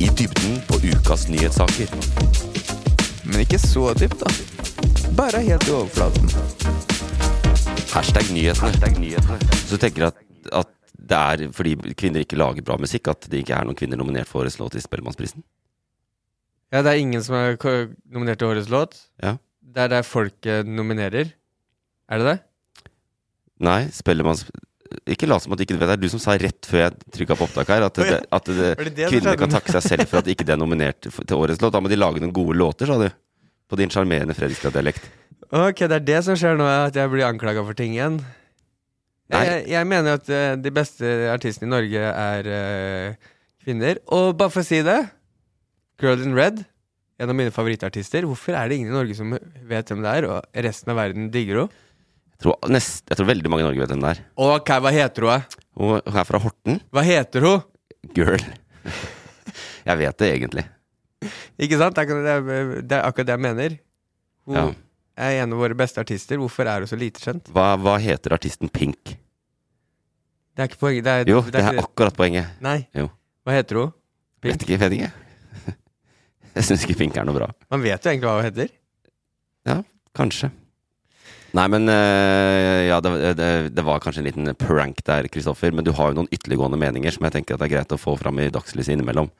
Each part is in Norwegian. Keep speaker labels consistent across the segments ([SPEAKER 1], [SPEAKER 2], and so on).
[SPEAKER 1] I dybden på ukas nyhetssaker. Men ikke så dypt, da. Bare helt i overflaten. Hashtag nyhetene. Så du tenker at, at det er fordi kvinner ikke lager bra musikk, at det ikke er noen kvinner nominert for årets låt i Spellemannsprisen?
[SPEAKER 2] Ja, det er ingen som er ko- nominert til årets låt.
[SPEAKER 1] Ja.
[SPEAKER 2] Det er der folket nominerer. Er det det?
[SPEAKER 1] Nei, Spellemanns... Ikke lat som at du ikke vet det. Det er du som sa rett før jeg trykka på opptak her, at, det, at det,
[SPEAKER 2] Var det det du
[SPEAKER 1] kvinner
[SPEAKER 2] sa?
[SPEAKER 1] kan takke seg selv for at ikke det er nominert f- til årets låt. Da må de lage noen gode låter, sa du. På din sjarmerende fredrikstad-dialekt.
[SPEAKER 2] Ok, det er det som skjer nå, at jeg blir anklaga for ting igjen.
[SPEAKER 1] Nei.
[SPEAKER 2] Jeg, jeg mener at eh, de beste artistene i Norge er eh, kvinner. Og bare for å si det Girl in Red, en av mine favorittartister. Hvorfor er det ingen i Norge som vet hvem det er, og resten av verden digger henne?
[SPEAKER 1] Jeg tror, nest, jeg tror veldig mange i Norge vet hvem det er.
[SPEAKER 2] Ok, hva heter hun? eh?
[SPEAKER 1] Hun hun er fra Horten.
[SPEAKER 2] Hva heter hun?
[SPEAKER 1] Girl. Jeg vet det egentlig.
[SPEAKER 2] Ikke sant? Det er, akkurat det jeg- det er akkurat det jeg mener. Hun
[SPEAKER 1] Ja.
[SPEAKER 2] er en av våre beste artister. Hvorfor er hun så lite kjent?
[SPEAKER 1] Hva, hva heter artisten Pink?
[SPEAKER 2] Det er ikke poenget. Det er,
[SPEAKER 1] Jo,
[SPEAKER 2] det
[SPEAKER 1] det er
[SPEAKER 2] ikke-
[SPEAKER 1] akkurat poenget.
[SPEAKER 2] Nei.
[SPEAKER 1] Jo.
[SPEAKER 2] Hva heter hun? Pink.
[SPEAKER 1] Vet ikke, vet ikke. Jeg syns ikke Pink er noe bra.
[SPEAKER 2] Man vet jo egentlig hva hun heter.
[SPEAKER 1] Kanskje. Nei, men øh, Ja, det, det, det var kanskje en liten prank der, Kristoffer, men du har jo noen ytterliggående meninger som jeg tenker at det er greit å få fram i dagslyset innimellom.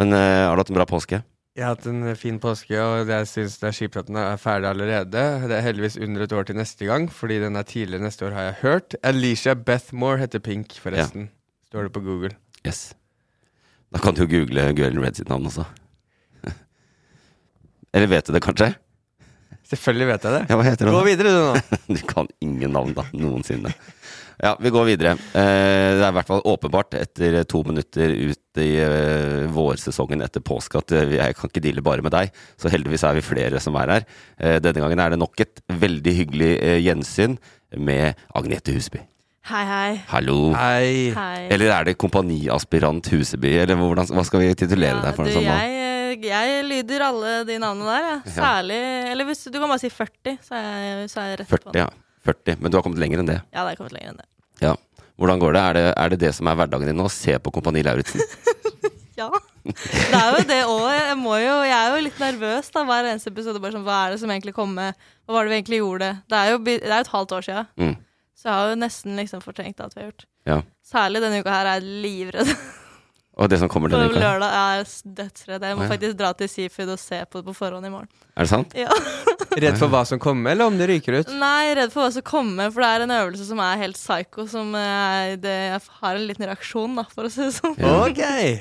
[SPEAKER 1] Men øh, har du hatt en bra påske?
[SPEAKER 2] Jeg har hatt en fin påske, og jeg syns det er kjipt at den er ferdig allerede. Det er heldigvis under et år til neste gang, fordi den er tidligere neste år, har jeg hørt. Alicia Bethmore heter Pink, forresten. Står det på Google.
[SPEAKER 1] Yes. Da kan du jo google Girl in Red sitt navn også. Eller vet du det, kanskje?
[SPEAKER 2] Selvfølgelig vet jeg det.
[SPEAKER 1] Ja, hva heter hun?
[SPEAKER 2] Gå
[SPEAKER 1] da?
[SPEAKER 2] videre, du nå.
[SPEAKER 1] Du kan ingen navn, da. Noensinne. Ja, vi går videre. Eh, Det er i hvert fall åpenbart etter to minutter ut i eh, vårsesongen etter påske at eh, vi- jeg kan ikke deale bare med deg, så heldigvis er vi flere som er her. Eh, Denne gangen er det nok et veldig hyggelig eh, gjensyn med Agnete Huseby.
[SPEAKER 3] Hei, hei.
[SPEAKER 1] Hallo.
[SPEAKER 2] Hei.
[SPEAKER 3] Hei.
[SPEAKER 1] Eller er det kompaniaspirant Huseby, eller hvordan, hva skal vi titulere deg for?
[SPEAKER 3] du,
[SPEAKER 1] noe sånt nå?
[SPEAKER 3] jeg, eh, jeg lyder alle de navnene der, jeg. Særlig Eller hvis du kan bare si 40, så er jeg, så er jeg rett
[SPEAKER 1] 40,
[SPEAKER 3] på. den.
[SPEAKER 1] ja. 40. Men du har kommet lenger enn det.
[SPEAKER 3] Ja, det er kommet lenger enn det.
[SPEAKER 1] Ja. Hvordan går det? Er, det? er det det som er hverdagen din nå? Se på Kompani Lauritzen?
[SPEAKER 3] Ja. Det er jo det òg. Jeg, må jo, jeg er jo litt nervøs da, hver eneste episode. Bare sånn, hva er det som egentlig kom med? Hva var det vi egentlig gjorde? Det er jo, bi- det er jo et halvt år sia,
[SPEAKER 1] Mm.
[SPEAKER 3] så jeg har jo nesten liksom fortrengt alt vi har gjort.
[SPEAKER 1] Ja.
[SPEAKER 3] Særlig denne uka her er jeg livredd.
[SPEAKER 1] Og det som kommer
[SPEAKER 3] På
[SPEAKER 1] denne uka? her?
[SPEAKER 3] lørdag er jeg s- dødsredd. Jeg
[SPEAKER 1] Å,
[SPEAKER 3] må
[SPEAKER 1] ja.
[SPEAKER 3] faktisk dra til Seafood og se på det på forhånd i morgen.
[SPEAKER 1] Er det sant?
[SPEAKER 3] Ja.
[SPEAKER 2] Redd for hva som kommer, eller om det ryker ut?
[SPEAKER 3] Nei, redd for hva som kommer, for det er en øvelse som er helt psycho. Som jeg, det, jeg har en liten reaksjon, da, for å si det sånn.
[SPEAKER 1] Ja.
[SPEAKER 2] Ok.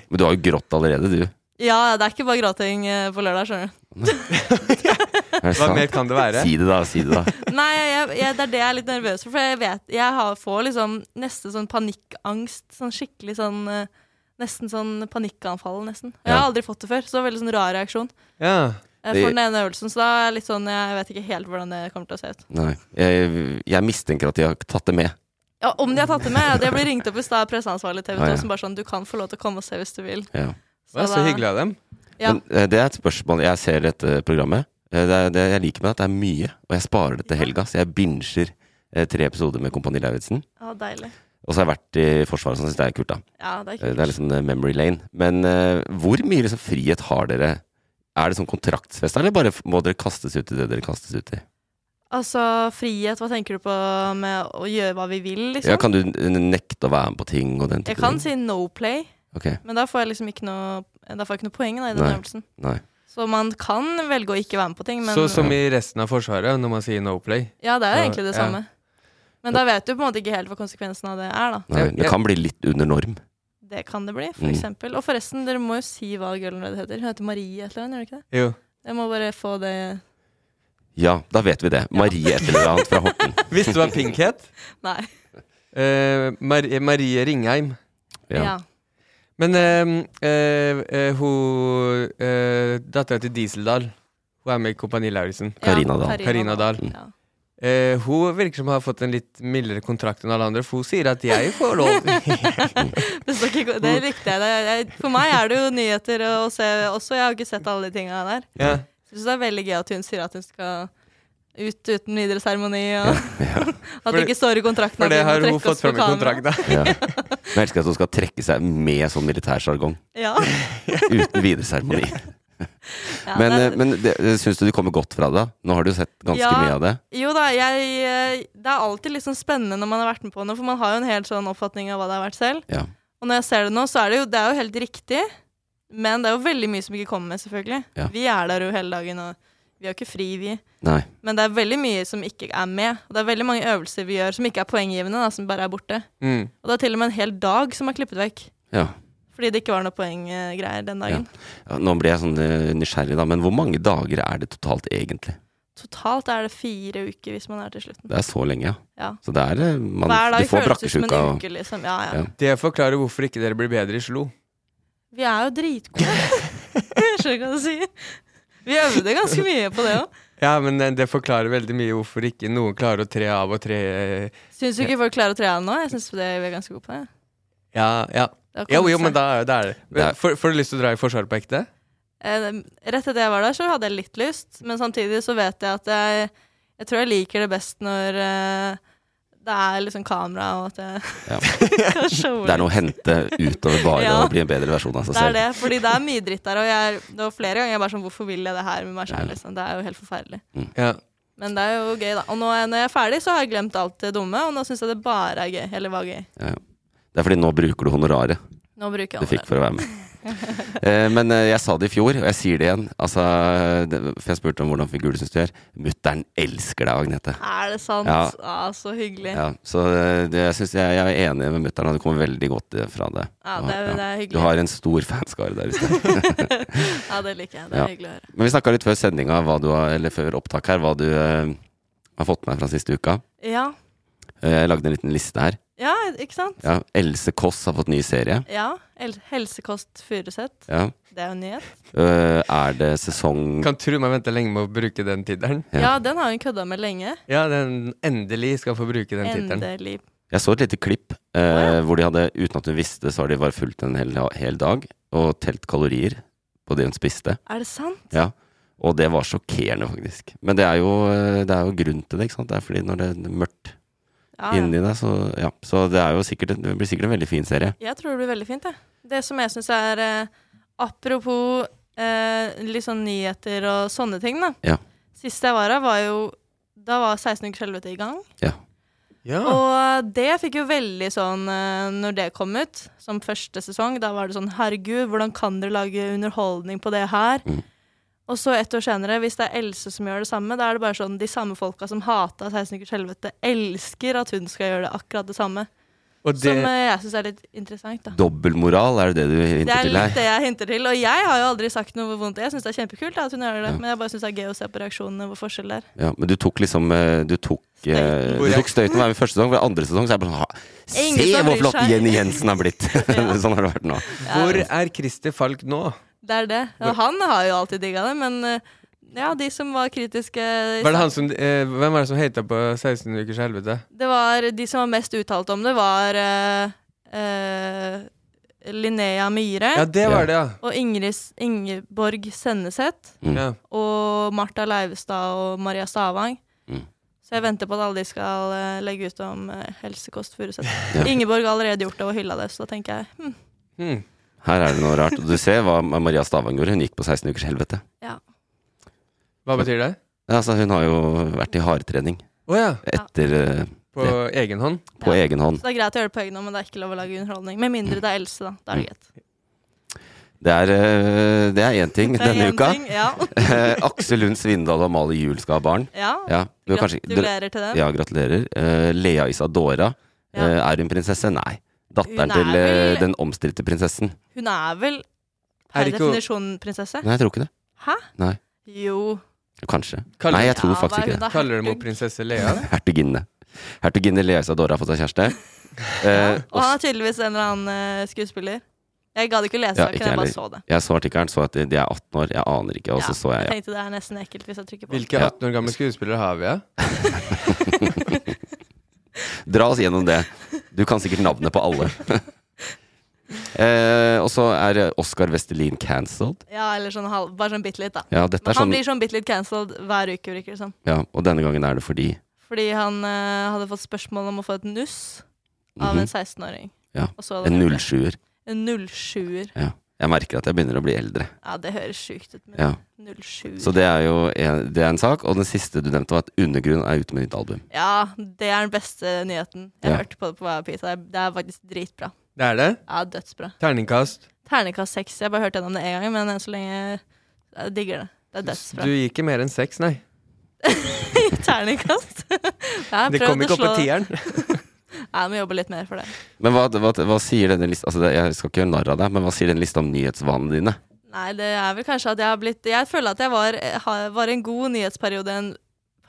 [SPEAKER 1] Men du har jo grått allerede, du.
[SPEAKER 3] Ja, det er ikke bare gråting eh, på lørdag, skjønner du.
[SPEAKER 1] Er det
[SPEAKER 2] Hva
[SPEAKER 1] sant?
[SPEAKER 2] mer kan det være?
[SPEAKER 1] Si det, da. Si det, da.
[SPEAKER 3] Nei, jeg, jeg, det er det jeg er litt nervøs for, for jeg vet Jeg har, får liksom neste sånn panikkangst. Sånn skikkelig sånn eh, Nesten sånn panikkanfall, nesten. Og Jeg har
[SPEAKER 1] Ja.
[SPEAKER 3] aldri fått det før, så det var veldig sånn rar reaksjon.
[SPEAKER 2] Ja.
[SPEAKER 3] eh,
[SPEAKER 1] Det-
[SPEAKER 3] For den ene øvelsen, så da er jeg litt sånn Jeg vet ikke helt hvordan det kommer til å se ut.
[SPEAKER 1] Nei. Jeg, jeg mistenker at de har tatt det med.
[SPEAKER 3] Ja, Om de har tatt det med, ja, det ble ringt opp i stad av presseansvarlig TV 2
[SPEAKER 1] Ja, ja.
[SPEAKER 3] som bare sånn Du kan få lov til å komme og se hvis du vil.
[SPEAKER 1] Ja.
[SPEAKER 2] Det var så
[SPEAKER 3] da-
[SPEAKER 2] hyggelig av dem.
[SPEAKER 3] Ja.
[SPEAKER 1] Men eh, det er et spørsmål. Jeg ser dette programmet. Eh, Det, er- det jeg liker med det, at det er mye, og jeg sparer det til helga. Så jeg binger eh, tre episoder med Kompani Lauritzen.
[SPEAKER 3] Ja, deilig.
[SPEAKER 1] Og så har jeg vært i Forsvaret, så jeg syns det er kult, da.
[SPEAKER 3] Ja, det er
[SPEAKER 1] Eh,
[SPEAKER 3] kult.
[SPEAKER 1] Det er liksom eh, memory lane. Men eh, hvor mye liksom frihet har dere? Er det sånn kontraktsfesta, eller bare f- må dere kastes ut i det dere kastes ut i?
[SPEAKER 3] Altså, frihet, hva tenker du på med å gjøre hva vi vil, liksom?
[SPEAKER 1] Ja, kan du n- nekte å være med på ting og den
[SPEAKER 3] Jeg
[SPEAKER 1] type ting?
[SPEAKER 3] kan si no play,
[SPEAKER 1] Ok,
[SPEAKER 3] men da får jeg liksom ikke noe, da får jeg ikke noe poeng da, i den
[SPEAKER 1] Nei.
[SPEAKER 3] øvelsen.
[SPEAKER 1] nei.
[SPEAKER 3] Så man kan velge å ikke være med på ting, men
[SPEAKER 2] Så som i resten av Forsvaret, når man sier no play.
[SPEAKER 3] ja, det er jo
[SPEAKER 2] Ja,
[SPEAKER 3] egentlig det
[SPEAKER 2] ja.
[SPEAKER 3] samme. Men da vet du på en måte ikke helt hva konsekvensen av det er, da.
[SPEAKER 1] nei.
[SPEAKER 2] Jeg-
[SPEAKER 1] Det kan bli litt under norm.
[SPEAKER 3] Det kan det bli, for
[SPEAKER 1] Mm.
[SPEAKER 3] eksempel. Og forresten, dere må jo si hva girlen red heter. Hun heter Marie et eller annet, gjør hun ikke det?
[SPEAKER 2] Jo.
[SPEAKER 3] Jeg må bare få det
[SPEAKER 1] Ja, da vet vi det. Marie et eller annet fra Horten.
[SPEAKER 2] Visste du hva Pink het?
[SPEAKER 3] Nei.
[SPEAKER 2] Eh, Marie, Marie Ringheim.
[SPEAKER 3] Ja.
[SPEAKER 1] Ja.
[SPEAKER 2] Men eh, eh, eh, hun eh, Dattera til Dieseldal. Hun er med i Kompani Lauritzen.
[SPEAKER 1] Karina Dahl.
[SPEAKER 2] Karina Dahl.
[SPEAKER 3] Ja.
[SPEAKER 2] Eh, hun virker som hun har fått en litt mildere kontrakt enn alle andre, for hun sier at jeg får lov.
[SPEAKER 3] Det, står ikke, det likte jeg. Det, jeg. For meg er det jo nyheter å se også. Jeg har ikke sett alle de tinga der.
[SPEAKER 2] ja.
[SPEAKER 3] Syns det er veldig gøy at hun sier at hun skal ut uten videre seremoni, og at
[SPEAKER 2] For-
[SPEAKER 3] det ikke står i kontrakten
[SPEAKER 2] For
[SPEAKER 3] at
[SPEAKER 2] det
[SPEAKER 3] vi må
[SPEAKER 2] har hun
[SPEAKER 3] trekke oss
[SPEAKER 2] fått fram i
[SPEAKER 3] på
[SPEAKER 2] kontrakt,
[SPEAKER 3] kamera.
[SPEAKER 2] da.
[SPEAKER 1] ja. Jeg elsker at hun skal trekke seg med sånn militærsjargong.
[SPEAKER 3] Ja.
[SPEAKER 1] Uten videre seremoni.
[SPEAKER 3] Ja,
[SPEAKER 1] Men,
[SPEAKER 3] det
[SPEAKER 1] eh,
[SPEAKER 3] er-
[SPEAKER 1] men det- syns du de kommer godt fra det? da? Nå har du jo sett ganske
[SPEAKER 3] Ja.
[SPEAKER 1] mye av det.
[SPEAKER 3] Jo da, jeg, eh, det er alltid litt sånn spennende når man har vært med på noe, for man har jo en helt sånn oppfatning av hva det har vært selv.
[SPEAKER 1] Ja.
[SPEAKER 3] Og når jeg ser det nå, så er det jo, det er jo helt riktig, men det er jo veldig mye som ikke kommer med, selvfølgelig.
[SPEAKER 1] Ja.
[SPEAKER 3] Vi er der jo hele dagen, og vi har ikke fri, vi.
[SPEAKER 1] Nei.
[SPEAKER 3] Men det er veldig mye som ikke er med. Og det er veldig mange øvelser vi gjør som ikke er poenggivende, da, som bare er borte.
[SPEAKER 2] Mm.
[SPEAKER 3] Og det er til og med en hel dag som er klippet vekk.
[SPEAKER 1] Ja.
[SPEAKER 3] Fordi det ikke var noe poenggreier den dagen.
[SPEAKER 1] Ja, Nå ble jeg sånn eh, nysgjerrig, da, men hvor mange dager er det totalt egentlig?
[SPEAKER 3] Totalt er det fire uker hvis man er til slutten.
[SPEAKER 1] Det er så lenge, ja.
[SPEAKER 3] Ja.
[SPEAKER 1] Så det er eh, man,
[SPEAKER 3] Hver dag
[SPEAKER 1] Du får
[SPEAKER 3] føles ut som en
[SPEAKER 1] brakkesjuka. og-
[SPEAKER 3] uke, liksom. Ja, ja.
[SPEAKER 1] Ja.
[SPEAKER 2] Det forklarer hvorfor ikke dere blir bedre i Slo.
[SPEAKER 3] Vi er jo dritgode. Jeg skjønner hva du sier. Vi øvde ganske mye på det òg.
[SPEAKER 2] Ja, men eh, det forklarer veldig mye hvorfor ikke noen klarer å tre av og tre eh,
[SPEAKER 3] Syns du ikke folk klarer å tre av nå? Jeg syns vi er ganske gode på det.
[SPEAKER 2] Ja, ja.
[SPEAKER 3] Det har
[SPEAKER 2] Jo,
[SPEAKER 3] kommet
[SPEAKER 2] jo,
[SPEAKER 3] seg.
[SPEAKER 2] men da er det er
[SPEAKER 1] Det
[SPEAKER 2] det.
[SPEAKER 1] er-
[SPEAKER 2] Får får du lyst til å dra i Forsvaret på ekte?
[SPEAKER 3] Eh, Rett etter jeg var der, så hadde jeg litt lyst, men samtidig så vet jeg at jeg, jeg tror jeg liker det best når eh, det er liksom kamera, og at jeg
[SPEAKER 1] Ja.
[SPEAKER 3] kan showe
[SPEAKER 1] Det er noe å hente utover bare
[SPEAKER 3] Ja.
[SPEAKER 1] å bli en bedre versjon av seg
[SPEAKER 3] Det er
[SPEAKER 1] selv.
[SPEAKER 3] det, fordi det er mye dritt der, og jeg, er- det var flere ganger jeg bare sånn Hvorfor vil jeg det her med meg sjæl? Liksom? Det er jo helt forferdelig.
[SPEAKER 2] Ja.
[SPEAKER 3] Men det er jo gøy, da. Og nå, er- når jeg er ferdig, så har jeg glemt alt det dumme, og nå syns jeg det bare er gøy. Eller var gøy.
[SPEAKER 1] Ja. det er fordi nå bruker du honoraret
[SPEAKER 3] Nå bruker
[SPEAKER 1] du
[SPEAKER 3] jeg
[SPEAKER 1] fikk for å være med. Eh, Men eh, jeg sa det i fjor, og jeg sier det igjen. Altså, det, for jeg spurte om hvordan figur du syns du gjør. Mutter'n elsker deg, Agnete.
[SPEAKER 3] Er det sant?
[SPEAKER 1] Ja.
[SPEAKER 3] Ja, så hyggelig. Ja,
[SPEAKER 1] Ja, så eh, det, jeg, synes jeg, jeg er enig med mutter'n, og du kommer veldig godt eh, fra det.
[SPEAKER 3] det, er- det er
[SPEAKER 1] Du
[SPEAKER 3] hyggelig.
[SPEAKER 1] har en stor fanskare der ute.
[SPEAKER 3] Ja, det liker jeg. Det er
[SPEAKER 1] Ja.
[SPEAKER 3] hyggelig å høre.
[SPEAKER 1] Men vi snakka litt før sendinga, hva du har- eller før opptak her, hva du eh, har fått med deg fra siste uka.
[SPEAKER 3] Ja.
[SPEAKER 1] Eh, Jeg lagde en liten liste her.
[SPEAKER 3] ja, ikke sant?
[SPEAKER 1] Ja, Else Kåss har fått ny serie.
[SPEAKER 3] Ja. hel- Helsekost Furuseth.
[SPEAKER 1] Ja.
[SPEAKER 3] Det er jo en nyhet.
[SPEAKER 1] Eh, er det sesong
[SPEAKER 2] Kan tro meg vente lenge med å bruke den tittelen.
[SPEAKER 1] Ja.
[SPEAKER 3] Ja, den har hun kødda med lenge.
[SPEAKER 2] Ja, den endelig skal få bruke den tittelen.
[SPEAKER 3] Endelig.
[SPEAKER 1] Jeg så et lite klipp eh, hvor de hadde, uten at hun visste, så har de bare fulgt en hel, hel dag og telt kalorier på det hun spiste.
[SPEAKER 3] Er det sant?
[SPEAKER 1] Ja. Og det var sjokkerende, faktisk. Men det er jo, eh, det er jo grunn til det, ikke sant. Det er fordi når det er mørkt
[SPEAKER 3] Ah, Ja, ja.
[SPEAKER 1] inni deg, så ja. Så det, er jo sikkert, det blir sikkert en veldig fin serie.
[SPEAKER 3] Jeg tror det blir veldig fint, jeg. Det som jeg syns er eh, Apropos eh, litt sånn nyheter og sånne ting, da.
[SPEAKER 1] Ja.
[SPEAKER 3] Sist jeg var her, var jo Da var 16 ukers helvete i gang.
[SPEAKER 1] Ja.
[SPEAKER 2] Ja.
[SPEAKER 1] Ah.
[SPEAKER 3] Og det fikk jo veldig sånn eh, Når det kom ut, som første sesong, da var det sånn Herregud, hvordan kan dere lage underholdning på det her?
[SPEAKER 1] Mhm.
[SPEAKER 3] Og så et år senere, hvis det er Else som gjør det samme, da er det bare sånn de samme folka som hata 16 ukers helvete, elsker at hun skal gjøre det akkurat det samme.
[SPEAKER 2] Og det
[SPEAKER 3] Som eh, jeg syns er litt interessant, da.
[SPEAKER 1] Dobbeltmoral, er det det du
[SPEAKER 3] Det
[SPEAKER 1] hinter
[SPEAKER 3] er
[SPEAKER 1] til
[SPEAKER 3] litt
[SPEAKER 1] her?
[SPEAKER 3] det jeg hinter til. Og jeg har jo aldri sagt noe vondt. Jeg syns det er kjempekult da, at hun gjør det,
[SPEAKER 1] Ja.
[SPEAKER 3] men jeg bare syns det er gøy å se på reaksjonene hvor forskjell det er.
[SPEAKER 1] Ja, men du tok liksom eh, Du tok, eh, du tok støyten hver første sesong, for andre sesong så er jeg bare sånn «Ha,
[SPEAKER 3] Ingen
[SPEAKER 1] Se
[SPEAKER 3] som
[SPEAKER 1] hvor
[SPEAKER 3] bryr
[SPEAKER 1] flott
[SPEAKER 3] seg.»
[SPEAKER 1] Jenny Jensen har blitt! sånn har det vært nå.
[SPEAKER 2] Hvor er Christer Falk nå?
[SPEAKER 3] Det er det. Og han har jo alltid digga det, men eh, ja, de som var kritiske
[SPEAKER 2] Var det han som, eh, hvem er det som hata på 16 ukers helvete?
[SPEAKER 3] Det var De som var mest uttalt om det, var eh, eh, Linnea Myhre
[SPEAKER 2] Ja, det var det, ja.
[SPEAKER 3] og Ingrid, S- Ingeborg Senneset.
[SPEAKER 1] Mm,
[SPEAKER 2] ja.
[SPEAKER 3] Og Martha Leivestad og Maria Stavang.
[SPEAKER 1] Mm.
[SPEAKER 3] Så jeg venter på at alle de skal eh, legge ut om eh, helsekost Furuset.
[SPEAKER 1] Ja.
[SPEAKER 3] Ingeborg har allerede gjort det og hylla det, så da tenker jeg hm,
[SPEAKER 2] Hmm.
[SPEAKER 1] Her er det noe rart. Og Du ser hva Maria Stavang gjorde. Hun gikk på 16 ukers helvete.
[SPEAKER 3] ja.
[SPEAKER 2] Hva betyr det?
[SPEAKER 1] Altså, hun har jo vært i hardtrening
[SPEAKER 2] Å ja.
[SPEAKER 1] etter, eh,
[SPEAKER 2] På egen hånd.
[SPEAKER 1] på
[SPEAKER 3] Ja.
[SPEAKER 1] egen hånd.
[SPEAKER 3] Så det er greit å gjøre det på egen hånd, men det er ikke lov å lage underholdning. Med mindre det er Else, da. Da er det
[SPEAKER 1] Mm.
[SPEAKER 3] greit.
[SPEAKER 1] Det er, eh, det er én ting
[SPEAKER 3] Det er
[SPEAKER 1] denne
[SPEAKER 3] én
[SPEAKER 1] uka.
[SPEAKER 3] ting, Ja.
[SPEAKER 1] Eh, Aksel Lund Svindal og Amalie Juel skal ha barn.
[SPEAKER 3] ja.
[SPEAKER 1] Ja, du har kanskje, du,
[SPEAKER 3] Gratulerer til dem.
[SPEAKER 1] ja gratulerer. Eh, Lea Isadora.
[SPEAKER 3] Ja.
[SPEAKER 1] Eh, er hun prinsesse? Nei. Datteren
[SPEAKER 3] Hun er
[SPEAKER 1] til eh,
[SPEAKER 3] vel-
[SPEAKER 1] den omstridte prinsessen.
[SPEAKER 3] Hun er vel
[SPEAKER 2] Er
[SPEAKER 3] per
[SPEAKER 2] det ikke-
[SPEAKER 3] definisjon prinsesse?
[SPEAKER 1] Nei, jeg tror ikke det.
[SPEAKER 3] Hæ?
[SPEAKER 1] Nei.
[SPEAKER 3] Jo.
[SPEAKER 1] Kanskje.
[SPEAKER 2] Kaller-
[SPEAKER 1] Nei, jeg tror
[SPEAKER 3] Ja, hva
[SPEAKER 1] faktisk
[SPEAKER 3] er
[SPEAKER 1] ikke det.
[SPEAKER 3] hun da?
[SPEAKER 2] Kaller dem jo prinsesse Lea.
[SPEAKER 1] Hertuginne. Hertuginne Lea Isadora har fått seg kjæreste. Eh,
[SPEAKER 3] Og han
[SPEAKER 1] og,
[SPEAKER 3] er tydeligvis en eller annen eh, skuespiller. Jeg gadd ikke å lese
[SPEAKER 1] Ja,
[SPEAKER 3] saken,
[SPEAKER 1] ikke
[SPEAKER 3] jeg
[SPEAKER 1] heller.
[SPEAKER 3] bare så det.
[SPEAKER 1] jeg så artikkelen, så at de er 18 år. Jeg aner ikke, og så
[SPEAKER 3] Ja,
[SPEAKER 1] så jeg
[SPEAKER 3] jeg
[SPEAKER 1] ja.
[SPEAKER 3] tenkte det er nesten ekkelt hvis jeg trykker på.
[SPEAKER 2] Hvilke
[SPEAKER 1] Ja.
[SPEAKER 2] 18 år gamle skuespillere har vi? Ja?
[SPEAKER 1] Dra oss gjennom det. Du kan sikkert navnet på alle. eh, og så er Oscar Westerlin cancelled.
[SPEAKER 3] Ja, eller sånn halv, bare sånn bitte litt, da.
[SPEAKER 1] Ja, dette
[SPEAKER 3] Men
[SPEAKER 1] er
[SPEAKER 3] han
[SPEAKER 1] sånn,
[SPEAKER 3] blir sånn bitte litt cancelled hver uke, virker det som.
[SPEAKER 1] ja, og denne gangen er det fordi
[SPEAKER 3] Fordi han eh, hadde fått spørsmål om å få et nuss av
[SPEAKER 1] Mhm.
[SPEAKER 3] en 16-åring.
[SPEAKER 1] Ja,
[SPEAKER 3] Og så hadde
[SPEAKER 1] en
[SPEAKER 3] han gjort det.
[SPEAKER 1] 07-er.
[SPEAKER 3] En 07-er.
[SPEAKER 1] Ja. Jeg merker at jeg begynner å bli eldre.
[SPEAKER 3] Ja, det høres sjukt ut, men
[SPEAKER 1] Ja.
[SPEAKER 3] 07
[SPEAKER 1] Så det er jo en, det er en sak. Og den siste du nevnte, var at Undergrunn er ute med nytt album.
[SPEAKER 3] Ja, det er den beste nyheten. Jeg
[SPEAKER 1] Ja.
[SPEAKER 3] hørte på det på Vaya Pizza. Det er- Det er faktisk dritbra.
[SPEAKER 2] Det er det.
[SPEAKER 3] Ja, dødsbra.
[SPEAKER 2] Terningkast.
[SPEAKER 3] Ternekast seks. Jeg har bare hørt gjennom det én gang, men enn så lenge jeg digger det. Det er dødsbra.
[SPEAKER 2] Du gir ikke mer enn seks, nei.
[SPEAKER 3] Ternekast. Jeg
[SPEAKER 2] Det kom ikke opp på tieren.
[SPEAKER 3] Jeg må jobbe litt mer for det.
[SPEAKER 1] Men hva, hva, hva sier denne lista altså det, Jeg skal ikke gjøre narr av deg, men hva sier denne lista om nyhetsvanene dine?
[SPEAKER 3] Nei, det er vel kanskje at jeg har blitt Jeg føler at jeg var, har- var en god nyhetsperiode en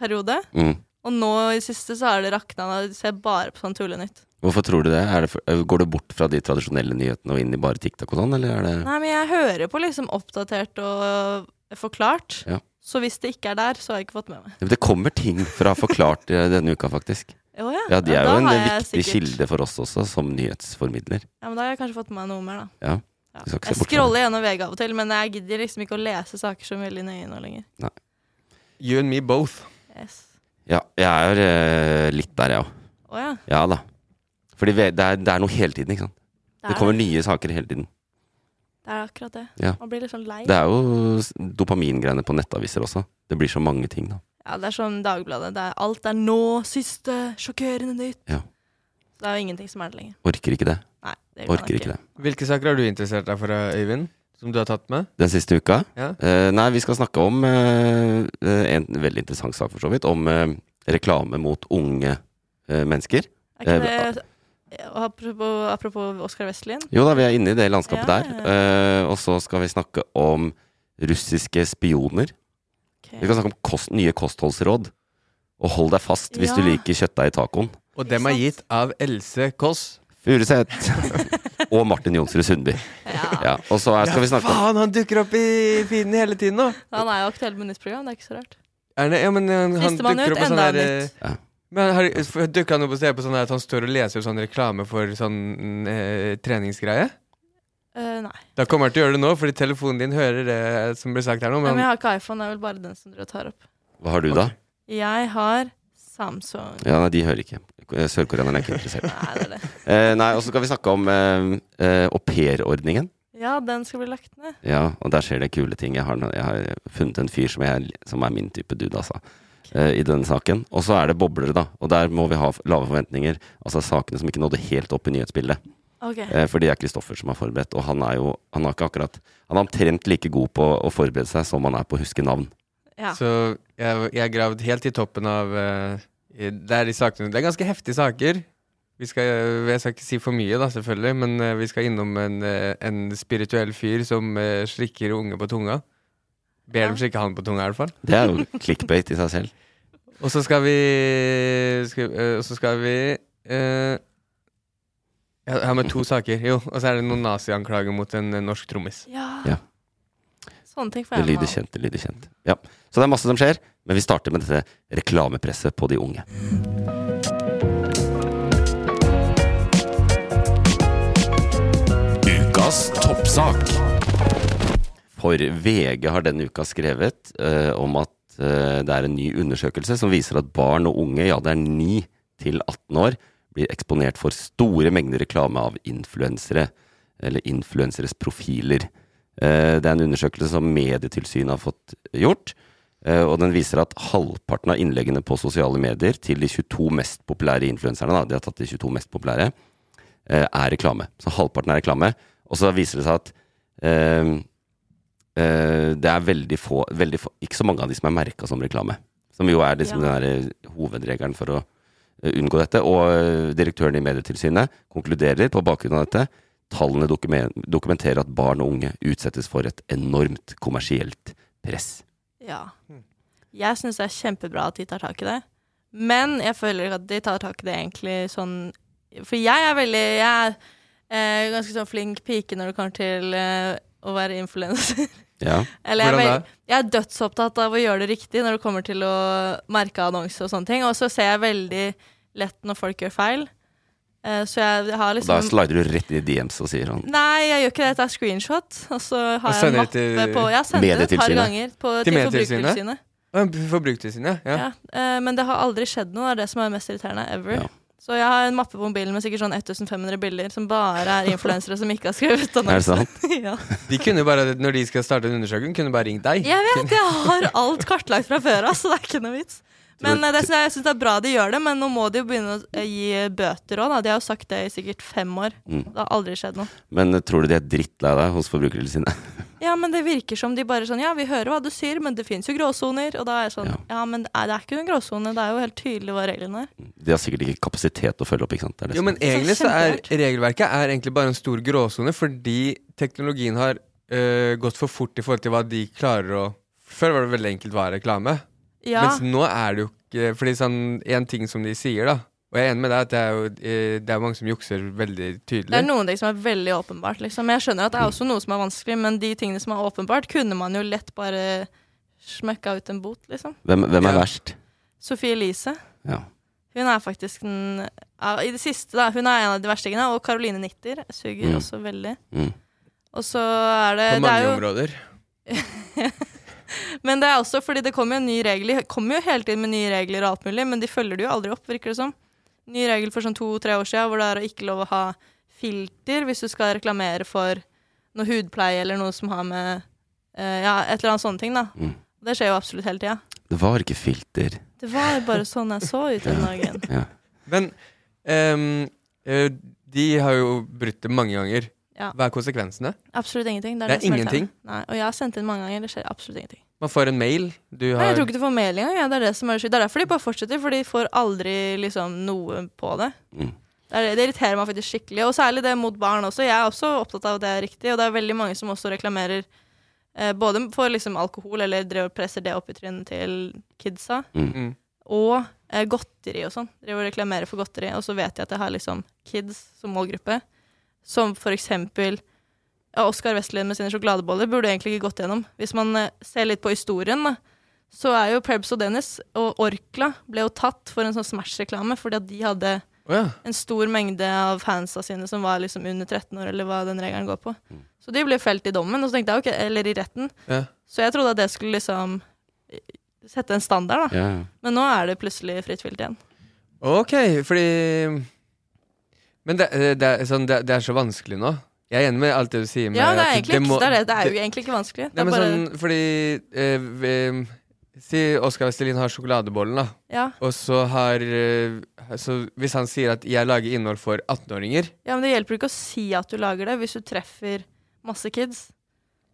[SPEAKER 3] periode,
[SPEAKER 1] Mm.
[SPEAKER 3] og nå i siste så har det rakna. Nå ser jeg bare på sånn tullenytt.
[SPEAKER 1] Hvorfor tror du det? Er det for, går du bort fra de tradisjonelle nyhetene og inn i bare TikTok og sånn, eller er det
[SPEAKER 3] Nei, men jeg hører på liksom oppdatert og forklart.
[SPEAKER 1] Ja.
[SPEAKER 3] Så hvis det ikke er der, så har jeg ikke fått med meg.
[SPEAKER 1] Ja, men Det kommer ting fra Forklart eh, denne uka, faktisk.
[SPEAKER 3] Å ja.
[SPEAKER 1] Ja, de er
[SPEAKER 3] da
[SPEAKER 1] jo en
[SPEAKER 3] har
[SPEAKER 1] eh,
[SPEAKER 3] jeg
[SPEAKER 1] viktig
[SPEAKER 3] sikkert-
[SPEAKER 1] kilde for oss også, som nyhetsformidler.
[SPEAKER 3] Ja, men Da har jeg kanskje fått med meg noe mer, da.
[SPEAKER 1] Ja.
[SPEAKER 3] Ja.
[SPEAKER 1] Du skal ikke se
[SPEAKER 3] Jeg
[SPEAKER 1] bort fra
[SPEAKER 3] scroller gjennom VG av og til, men jeg gidder liksom ikke å lese saker så veldig nøye nå lenger.
[SPEAKER 2] You and me both.
[SPEAKER 3] Yes.
[SPEAKER 1] Ja, jeg er eh, litt der, jeg òg.
[SPEAKER 3] Å ja.
[SPEAKER 1] Ja da. Fordi vi- det er, det er noe hele tiden, ikke sant.
[SPEAKER 3] Det
[SPEAKER 1] Det
[SPEAKER 3] er,
[SPEAKER 1] kommer
[SPEAKER 3] det.
[SPEAKER 1] nye saker hele tiden.
[SPEAKER 3] det er akkurat det.
[SPEAKER 1] Ja.
[SPEAKER 3] Man blir litt sånn lei.
[SPEAKER 1] Det er jo s- dopamingreiene på nettaviser også. Det blir så mange ting, da.
[SPEAKER 3] Ja, det er som Dagbladet. Det er alt er nå, siste, sjokkerende nytt.
[SPEAKER 1] Ja.
[SPEAKER 3] Så det er jo ingenting som er det lenger.
[SPEAKER 1] Orker ikke det.
[SPEAKER 3] Nei, det kan
[SPEAKER 1] Orker ikke det.
[SPEAKER 2] Hvilke saker har du interessert deg for, eh, Øyvind? Som du har tatt med?
[SPEAKER 1] Den siste uka?
[SPEAKER 2] Ja.
[SPEAKER 1] Eh, nei, vi skal snakke om eh, en veldig interessant sak, for så vidt. Om eh, reklame mot unge eh, mennesker.
[SPEAKER 3] Er ikke
[SPEAKER 1] Eh,
[SPEAKER 3] det og apropos, apropos Oskar Westlien.
[SPEAKER 1] Jo da, vi er inne i det landskapet
[SPEAKER 3] Ja,
[SPEAKER 1] der.
[SPEAKER 3] ja,
[SPEAKER 1] Eh, og så skal vi snakke om russiske spioner. Vi skal snakke om kost, nye kostholdsråd. Og hold deg fast hvis du
[SPEAKER 3] Ja.
[SPEAKER 1] liker kjøttdeig i tacoen.
[SPEAKER 2] Og dem er gitt av Else Kåss.
[SPEAKER 1] Furuseth! og Martin Jonsrud Sundby.
[SPEAKER 3] Ja.
[SPEAKER 1] Ja, og så er, skal vi snakke om
[SPEAKER 2] Faen, han dukker opp i feeden hele tiden nå!
[SPEAKER 3] Han er jo aktuell med nytt program, det er ikke så rart.
[SPEAKER 2] Er det, ja, men eh, han
[SPEAKER 3] Frister man
[SPEAKER 2] dukker
[SPEAKER 3] ut,
[SPEAKER 2] opp på sånn
[SPEAKER 3] enda
[SPEAKER 2] der
[SPEAKER 3] nytt.
[SPEAKER 2] eh,
[SPEAKER 1] Ja.
[SPEAKER 2] Men har, for- dukker han opp og ser på sånn der at han står og leser opp sånn reklame for sånn eh, treningsgreie?
[SPEAKER 3] Eh, nei.
[SPEAKER 2] Da kommer han til å gjøre det nå, fordi telefonen din hører det som blir sagt her nå.
[SPEAKER 3] Nei, Men
[SPEAKER 2] Men
[SPEAKER 3] jeg har ikke iPhone, det er vel bare den som dere tar opp.
[SPEAKER 1] Hva har du, da?
[SPEAKER 3] Jeg har Samsung.
[SPEAKER 1] Ja, nei, de hører ikke. Sørkoreanerne er ikke interessert.
[SPEAKER 3] Nei, det er det.
[SPEAKER 1] Eh, nei, og så skal vi snakke om eh, eh, aupairordningen.
[SPEAKER 3] Ja, den skal bli lagt ned.
[SPEAKER 1] Ja, og der skjer det kule ting. Jeg har, jeg har funnet en fyr som, jeg, som er min type dude, altså. eh, I denne saken. Og så er det boblere, da. Og der må vi ha f- lave forventninger. Altså sakene som ikke nådde helt opp i nyhetsbildet.
[SPEAKER 3] Ok.
[SPEAKER 1] Eh, For det er Kristoffer som har forberedt, og han er jo han har ikke akkurat Han er omtrent like god på å forberede seg som han er på å huske navn.
[SPEAKER 3] Ja.
[SPEAKER 2] Så jeg, jeg er gravd helt i toppen av eh, i- Det er de sakene Det er ganske heftige saker. Vi skal, eh, jeg skal ikke si for mye, da, selvfølgelig, men eh, vi skal innom en, eh, en spirituell fyr som eh, slikker unge på tunga. Ber dem slikke han på tunga, i hvert fall.
[SPEAKER 1] Det er jo clickbait i seg selv.
[SPEAKER 2] Og så skal vi skal, eh, Og så skal vi eh, Jeg har med to saker. Jo, og så er det noen nazianklager mot en eh, norsk trommis.
[SPEAKER 3] ja.
[SPEAKER 1] Ja.
[SPEAKER 3] Sånne ting får
[SPEAKER 1] Det
[SPEAKER 3] jeg med
[SPEAKER 1] lyder
[SPEAKER 3] meg.
[SPEAKER 1] kjent, det lyder kjent. Ja. Så det er masse som skjer, men vi starter med dette reklamepresset på de unge. Ukas toppsak. For VG har denne uka skrevet eh, om at eh, det er en ny undersøkelse som viser at barn og unge, ja det er 9 til 18 år, blir eksponert for store mengder reklame av influensere, eller influenseres profiler. Eh, Det er en undersøkelse som Medietilsynet har fått gjort. Eh, Og den viser at halvparten av innleggene på sosiale medier til de 22 mest populære influenserne, da, de har tatt de 22 mest populære, eh, er reklame. Så halvparten er reklame. Og så viser det seg at eh, eh, det er veldig få, veldig få, ikke så mange av de som er merka som reklame. Som jo er liksom
[SPEAKER 3] Ja.
[SPEAKER 1] den der hovedregelen for å eh, unngå dette. Og eh, direktøren i Medietilsynet konkluderer på bakgrunn av dette. Tallene dokumen- dokumenterer at barn og unge utsettes for et enormt kommersielt press.
[SPEAKER 3] Ja. Jeg syns det er kjempebra at de tar tak i det, men jeg føler ikke at de tar tak i det egentlig sånn For jeg er veldig Jeg er eh, ganske sånn flink pike når det kommer til eh, å være influenser.
[SPEAKER 1] Ja.
[SPEAKER 3] Eller jeg, er
[SPEAKER 2] Hvordan
[SPEAKER 3] veld- jeg er dødsopptatt av å gjøre det riktig når det kommer til å merke annonser og sånne ting. Og så ser jeg veldig lett når folk gjør feil. Eh, så jeg har
[SPEAKER 1] Og da
[SPEAKER 3] liksom
[SPEAKER 1] slider du rett inn i DMs og sier han
[SPEAKER 3] Nei, jeg gjør ikke det. Jeg tar screenshot, og så
[SPEAKER 2] Og
[SPEAKER 3] har jeg en
[SPEAKER 2] sender
[SPEAKER 3] mappe
[SPEAKER 2] det til-
[SPEAKER 3] på Jeg sender det et par
[SPEAKER 1] Medietilsynet.
[SPEAKER 3] ganger på,
[SPEAKER 2] Til
[SPEAKER 3] til,
[SPEAKER 2] Medietilsynet?
[SPEAKER 3] Forbrukertilsynet.
[SPEAKER 2] Forbrukertilsynet, ja.
[SPEAKER 3] Ja. eh, men det har aldri skjedd noe. Det er det som er mest irriterende ever.
[SPEAKER 1] Ja.
[SPEAKER 3] Så jeg har en mappe på mobilen med sikkert sånn 1500 bilder som bare er influensere som ikke har skrevet
[SPEAKER 1] Er det
[SPEAKER 3] annonse.
[SPEAKER 1] sant?
[SPEAKER 3] ja.
[SPEAKER 2] De kunne bare, når de skal starte en undersøkelse, kunne de bare ringt deg.
[SPEAKER 3] Jeg vet, jeg har alt kartlagt fra før av, så det er ikke noe vits. Men eh, det, synes jeg jeg synes det er bra de gjør det, men nå må de jo begynne å eh, gi bøter òg. De har jo sagt det i sikkert fem år.
[SPEAKER 1] Mm.
[SPEAKER 3] Det har aldri skjedd noe.
[SPEAKER 1] Men eh, tror du de er drittlei deg hos Forbrukertilsynet?
[SPEAKER 3] Ja, men det virker som de bare sånn Ja, vi hører hva du sier, men det fins jo gråsoner. Og da er jeg sånn
[SPEAKER 1] Ja.
[SPEAKER 3] Ja, men det er, det er ikke noen gråsone. Det er jo helt tydelig hva reglene er.
[SPEAKER 1] De har sikkert ikke kapasitet til å følge opp, ikke sant? Det er det
[SPEAKER 2] Jo,
[SPEAKER 1] som-
[SPEAKER 2] men
[SPEAKER 3] er
[SPEAKER 2] egentlig så er
[SPEAKER 3] kjemperart.
[SPEAKER 2] regelverket er egentlig bare en stor gråsone, fordi teknologien har øh, gått for fort i forhold til hva de klarer å Før var det veldig enkelt hva er reklame,
[SPEAKER 3] Ja.
[SPEAKER 2] mens nå er det jo ikke Fordi sånn, en ting som de sier, da Og jeg er enig med deg at det er jo eh, det er mange som jukser veldig tydelig.
[SPEAKER 3] Det er noen ting som er veldig åpenbart. Liksom. Jeg skjønner at det er også noe som er vanskelig, men de tingene som er åpenbart, kunne man jo lett bare smekka ut en bot, liksom.
[SPEAKER 1] Hvem, hvem er
[SPEAKER 2] Ja.
[SPEAKER 1] verst?
[SPEAKER 3] Sophie Elise.
[SPEAKER 1] Ja.
[SPEAKER 3] Hun er faktisk den ja, I det siste, da. Hun er en av de verstingene. Og Caroline Nitter suger
[SPEAKER 1] Mm.
[SPEAKER 3] også veldig.
[SPEAKER 1] Mm.
[SPEAKER 3] Og så er det,
[SPEAKER 2] på
[SPEAKER 3] det
[SPEAKER 2] mange
[SPEAKER 3] er jo,
[SPEAKER 2] områder.
[SPEAKER 3] Men det er også fordi det kommer jo en ny regel. De kommer jo hele tiden med nye regler og alt mulig, men de følger det jo aldri opp, virker det som. Ny regel for sånn to-tre år siden hvor det er å ikke lov å ha filter hvis du skal reklamere for noe hudpleie eller noe som har med eh, Ja, et eller annet sånne ting, da.
[SPEAKER 1] Mm.
[SPEAKER 3] Det skjer jo absolutt hele tida.
[SPEAKER 1] Det var ikke filter.
[SPEAKER 3] Det var jo bare sånn jeg så ut den dagen.
[SPEAKER 1] Ja.
[SPEAKER 2] Men ehm, eh, de har jo brutt det mange ganger.
[SPEAKER 3] Ja.
[SPEAKER 2] Hva er konsekvensene?
[SPEAKER 3] Absolutt ingenting. Det er,
[SPEAKER 2] Det er
[SPEAKER 3] som
[SPEAKER 2] ingenting?
[SPEAKER 3] irriterende. Nei, og jeg har sendt inn mange ganger. Det skjer absolutt ingenting.
[SPEAKER 2] Man får en mail. Du
[SPEAKER 3] Nei, jeg
[SPEAKER 2] har
[SPEAKER 3] tror ikke du får mail engang. Ja. Det er det som er skyld. Det er derfor de bare fortsetter, for de får aldri liksom noe på det.
[SPEAKER 1] Mm.
[SPEAKER 3] Det, er, det irriterer meg faktisk skikkelig, og særlig det mot barn også. Jeg er også opptatt av at det er riktig, og det er veldig mange som også reklamerer eh, både for liksom alkohol, eller driver og presser det opp i trynet til kidsa,
[SPEAKER 2] Mm.
[SPEAKER 3] og eh, godteri og sånn. Driver og reklamerer for godteri, og så vet jeg at jeg har liksom kids som målgruppe, som for eksempel ja, Oskar Vestlien med sine sjokoladeboller burde egentlig ikke gått gjennom. Hvis man eh, ser litt på historien, da, så er jo Prebz og Dennis og Orkla ble jo tatt for en sånn Smash-reklame fordi at de hadde
[SPEAKER 2] Å ja.
[SPEAKER 3] en stor mengde av fansa sine som var liksom under 13 år, eller hva den regelen går på. Så de ble felt i dommen, og så tenkte jeg, ok, eller i retten.
[SPEAKER 2] ja.
[SPEAKER 3] Så jeg trodde at det skulle liksom eh, sette en standard, da.
[SPEAKER 1] Ja.
[SPEAKER 3] Men nå er det plutselig fritt vilt igjen.
[SPEAKER 2] Ok, fordi Men det, det, er, sånn, det, det er så vanskelig nå. Jeg er enig med alt altså, det du sier. Med
[SPEAKER 3] Ja, det er,
[SPEAKER 2] at
[SPEAKER 3] egentlig, ikke-
[SPEAKER 2] må-
[SPEAKER 3] det, er det, det er jo egentlig ikke vanskelig. Det
[SPEAKER 2] Nei,
[SPEAKER 3] er
[SPEAKER 2] men
[SPEAKER 3] bare,
[SPEAKER 2] sånn, fordi eh, vi- Si Oskar Vestelin har sjokoladebollen, da.
[SPEAKER 3] ja.
[SPEAKER 2] Og så har eh, så Hvis han sier at 'jeg lager innhold for 18-åringer'
[SPEAKER 3] ja, men det hjelper ikke å si at du lager det, hvis du treffer masse kids.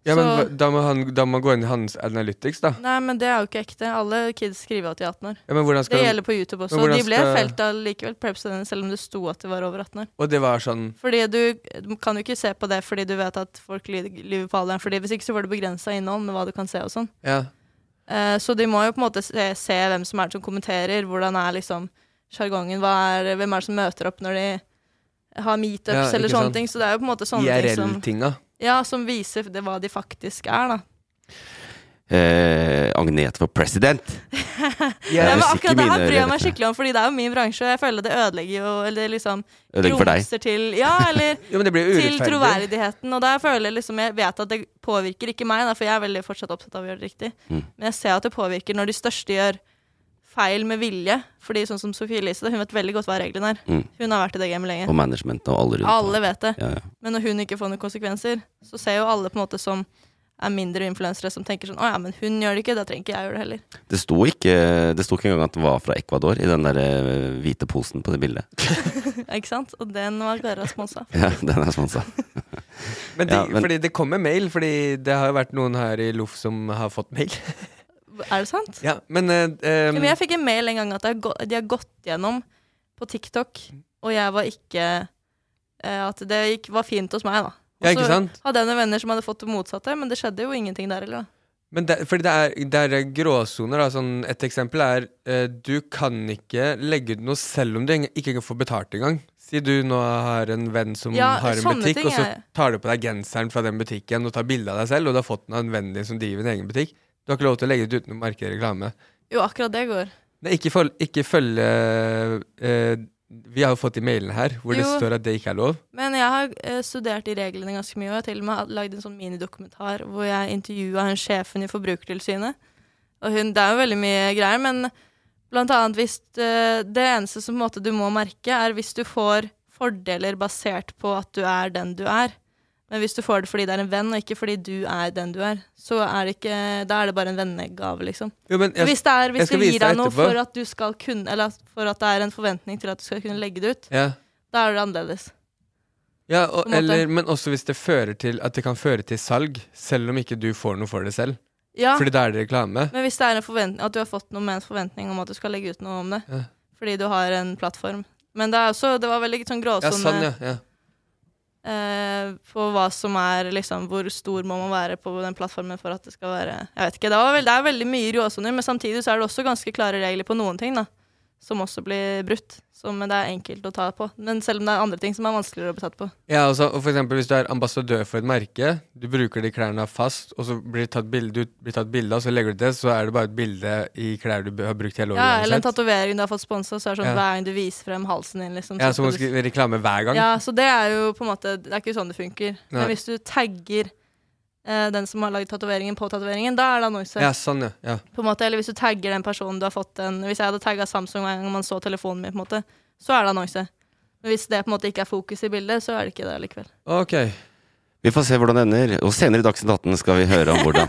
[SPEAKER 2] ja, men
[SPEAKER 3] Så-
[SPEAKER 2] hva- da, må han- da må han gå inn i hans Analytics, da.
[SPEAKER 3] Nei, men det er jo ikke ekte. Alle kids skriver at de er 18 år.
[SPEAKER 2] Ja, men hvordan
[SPEAKER 3] Det
[SPEAKER 2] skal
[SPEAKER 3] gjelder på YouTube også.
[SPEAKER 2] Men hvordan
[SPEAKER 3] De ble
[SPEAKER 2] skal-
[SPEAKER 3] felt av likevel, Prebz og Dennis, selv om det sto at de var over 18 år.
[SPEAKER 2] Og det var sånn
[SPEAKER 3] Fordi du du kan jo ikke se på det fordi du vet at folk ly- lyver på alderen. Fordi Hvis ikke så får du begrensa innhold med hva du kan se og sånn.
[SPEAKER 2] Ja.
[SPEAKER 3] Eh, så de må jo på en måte se, se hvem som er det som kommenterer, hvordan er liksom sjargongen, hva er- hvem er det som møter opp når de har meetups
[SPEAKER 2] Ja,
[SPEAKER 3] eller
[SPEAKER 2] ikke
[SPEAKER 3] sånne
[SPEAKER 2] sant.
[SPEAKER 3] ting. Så det er jo på en måte sånne ting som,
[SPEAKER 2] IRL-tinga.
[SPEAKER 3] ja, som viser det, hva de faktisk er, da.
[SPEAKER 1] Eh, Agnete for president!
[SPEAKER 3] Ja, men
[SPEAKER 1] hvis ikke
[SPEAKER 3] akkurat det her
[SPEAKER 1] mine
[SPEAKER 3] bryr jeg meg
[SPEAKER 1] øreletter.
[SPEAKER 3] skikkelig om, fordi det er jo min bransje, og jeg føler det ødelegger jo Eller liksom
[SPEAKER 1] Ødelegger for deg.
[SPEAKER 3] grumser til Ja, eller
[SPEAKER 2] Jo, men det blir jo
[SPEAKER 3] til
[SPEAKER 2] urettferdig.
[SPEAKER 3] troverdigheten. Og der føler jeg liksom Jeg vet at det påvirker ikke meg, da, for jeg er veldig fortsatt opptatt av å gjøre det riktig.
[SPEAKER 1] Mm,
[SPEAKER 3] Men jeg ser at det påvirker når de største gjør feil med vilje. Fordi sånn som Sofie Elise, da, hun vet veldig godt hva reglene er.
[SPEAKER 1] Mm.
[SPEAKER 3] Hun har vært i det gamet
[SPEAKER 1] Og
[SPEAKER 3] lenge.
[SPEAKER 1] management og alle rundt.
[SPEAKER 3] Alle vet det.
[SPEAKER 1] Ja, ja.
[SPEAKER 3] Men når hun ikke får noen konsekvenser, så ser jo alle på en måte som er mindre influensere som tenker sånn Å ja, men hun gjør det ikke, da trenger ikke jeg gjøre det heller.
[SPEAKER 1] Det sto ikke, det sto ikke engang at den var fra Ecuador i den der eh, hvite posen på det bildet.
[SPEAKER 3] ikke sant? Og den var Klara sponsa.
[SPEAKER 1] Ja, den er sponsa.
[SPEAKER 2] Men, de,
[SPEAKER 1] Ja, men-
[SPEAKER 2] fordi det kommer mail, fordi det har jo vært noen her i Loff som har fått mail.
[SPEAKER 3] Er det sant?
[SPEAKER 2] ja, men eh, eh,
[SPEAKER 3] Men jeg fikk en mail en gang at de har gå- de har gått gjennom på TikTok, og jeg var ikke eh, At det gikk, var fint hos meg, da.
[SPEAKER 2] Ja, ikke sant?
[SPEAKER 3] hadde jeg noen venner som hadde fått det motsatte, men det skjedde jo ingenting der heller. da.
[SPEAKER 2] Men det, fordi det er, det er gråsoner. da. Sånn, et eksempel er eh, du kan ikke legge ut noe selv om du eng- ikke får betalt engang. Si du nå har en venn som
[SPEAKER 3] Ja,
[SPEAKER 2] har en
[SPEAKER 3] sånne
[SPEAKER 2] butikk,
[SPEAKER 3] ting
[SPEAKER 2] og så
[SPEAKER 3] er-
[SPEAKER 2] tar du på deg genseren fra den butikken og tar bilde av deg selv, og du har fått den av en venn din som driver en egen butikk. Du har ikke lov til å legge ut uten å markere reklame.
[SPEAKER 3] Jo, akkurat det går.
[SPEAKER 2] Nei, ikke, føl- ikke følge eh, Vi har jo fått de mailene her hvor det
[SPEAKER 3] Jo.
[SPEAKER 2] står at det ikke er lov.
[SPEAKER 3] Men jeg har eh, studert de reglene ganske mye, og jeg har til og med lagd en sånn minidokumentar hvor jeg intervjua hun sjefen i Forbrukertilsynet. Og hun, det er jo veldig mye greier, men blant annet hvis eh, Det eneste som på en måte du må merke, er hvis du får fordeler basert på at du er den du er. Men hvis du får det fordi det er en venn, og ikke fordi du er den du er, så er det ikke Da er det bare en vennegave, liksom.
[SPEAKER 2] Jo, men jeg,
[SPEAKER 3] hvis det, er,
[SPEAKER 2] jeg
[SPEAKER 3] hvis
[SPEAKER 2] skal
[SPEAKER 3] det
[SPEAKER 2] vise
[SPEAKER 3] gir
[SPEAKER 2] deg
[SPEAKER 3] deg noe
[SPEAKER 2] etterpå.
[SPEAKER 3] for at du skal kunne Eller at- for at det er en forventning til at du skal kunne legge det ut,
[SPEAKER 2] ja.
[SPEAKER 3] da er det annerledes.
[SPEAKER 2] Ja, og,
[SPEAKER 3] på en måte.
[SPEAKER 2] eller, men også hvis det fører til at det kan føre til salg, selv om ikke du får noe for det selv.
[SPEAKER 3] Ja,
[SPEAKER 2] Fordi da er det reklame.
[SPEAKER 3] men hvis det er en forventning at du har fått noe med en forventning om at du skal legge ut noe om det,
[SPEAKER 2] Ja.
[SPEAKER 3] fordi du har en plattform. Men det er også Det var veldig sånn
[SPEAKER 2] Ja,
[SPEAKER 3] gråsone
[SPEAKER 2] sånn, ja. ja.
[SPEAKER 3] eh, på hva som er liksom Hvor stor må man være på den plattformen for at det skal være Jeg vet ikke. Det, var vel, det er veldig mye gråsoner, men samtidig så er det også ganske klare regler på noen ting, da. Som også blir brutt. Som det er enkelt å ta på. Men selv om det er andre ting som er vanskeligere å bli tatt på.
[SPEAKER 2] ja altså, og for eksempel hvis du er ambassadør for et merke, du bruker de klærne fast, og så blir det tatt bilde, du blir tatt bilde av, så legger du det, så er det bare et bilde i klær du b- har brukt hele året.
[SPEAKER 3] Ja, eller en
[SPEAKER 2] uansett.
[SPEAKER 3] tatovering du har fått sponsa, så er det sånn
[SPEAKER 2] Ja.
[SPEAKER 3] hver gang du viser frem halsen din, liksom.
[SPEAKER 2] ja,
[SPEAKER 3] så
[SPEAKER 2] så må
[SPEAKER 3] skal
[SPEAKER 2] du
[SPEAKER 3] du-
[SPEAKER 2] skrive reklame hver gang.
[SPEAKER 3] ja, så det er jo på en måte Det er ikke sånn det funker.
[SPEAKER 2] Nei.
[SPEAKER 3] Men hvis du tagger eh, den som har lagd tatoveringen, på tatoveringen, da er det annonse.
[SPEAKER 2] Ja, sånn, ja. ja.
[SPEAKER 3] På en måte, eller hvis du tagger den personen du har fått den Hvis jeg hadde tagga Samsung hver gang man så telefonen min, på en måte, så er det annonse. Men hvis det på en måte ikke er fokus i bildet, så er det ikke det likevel.
[SPEAKER 2] Ok.
[SPEAKER 1] Vi får se hvordan det ender. Og senere i Dagsnytt 18 skal vi høre om hvordan.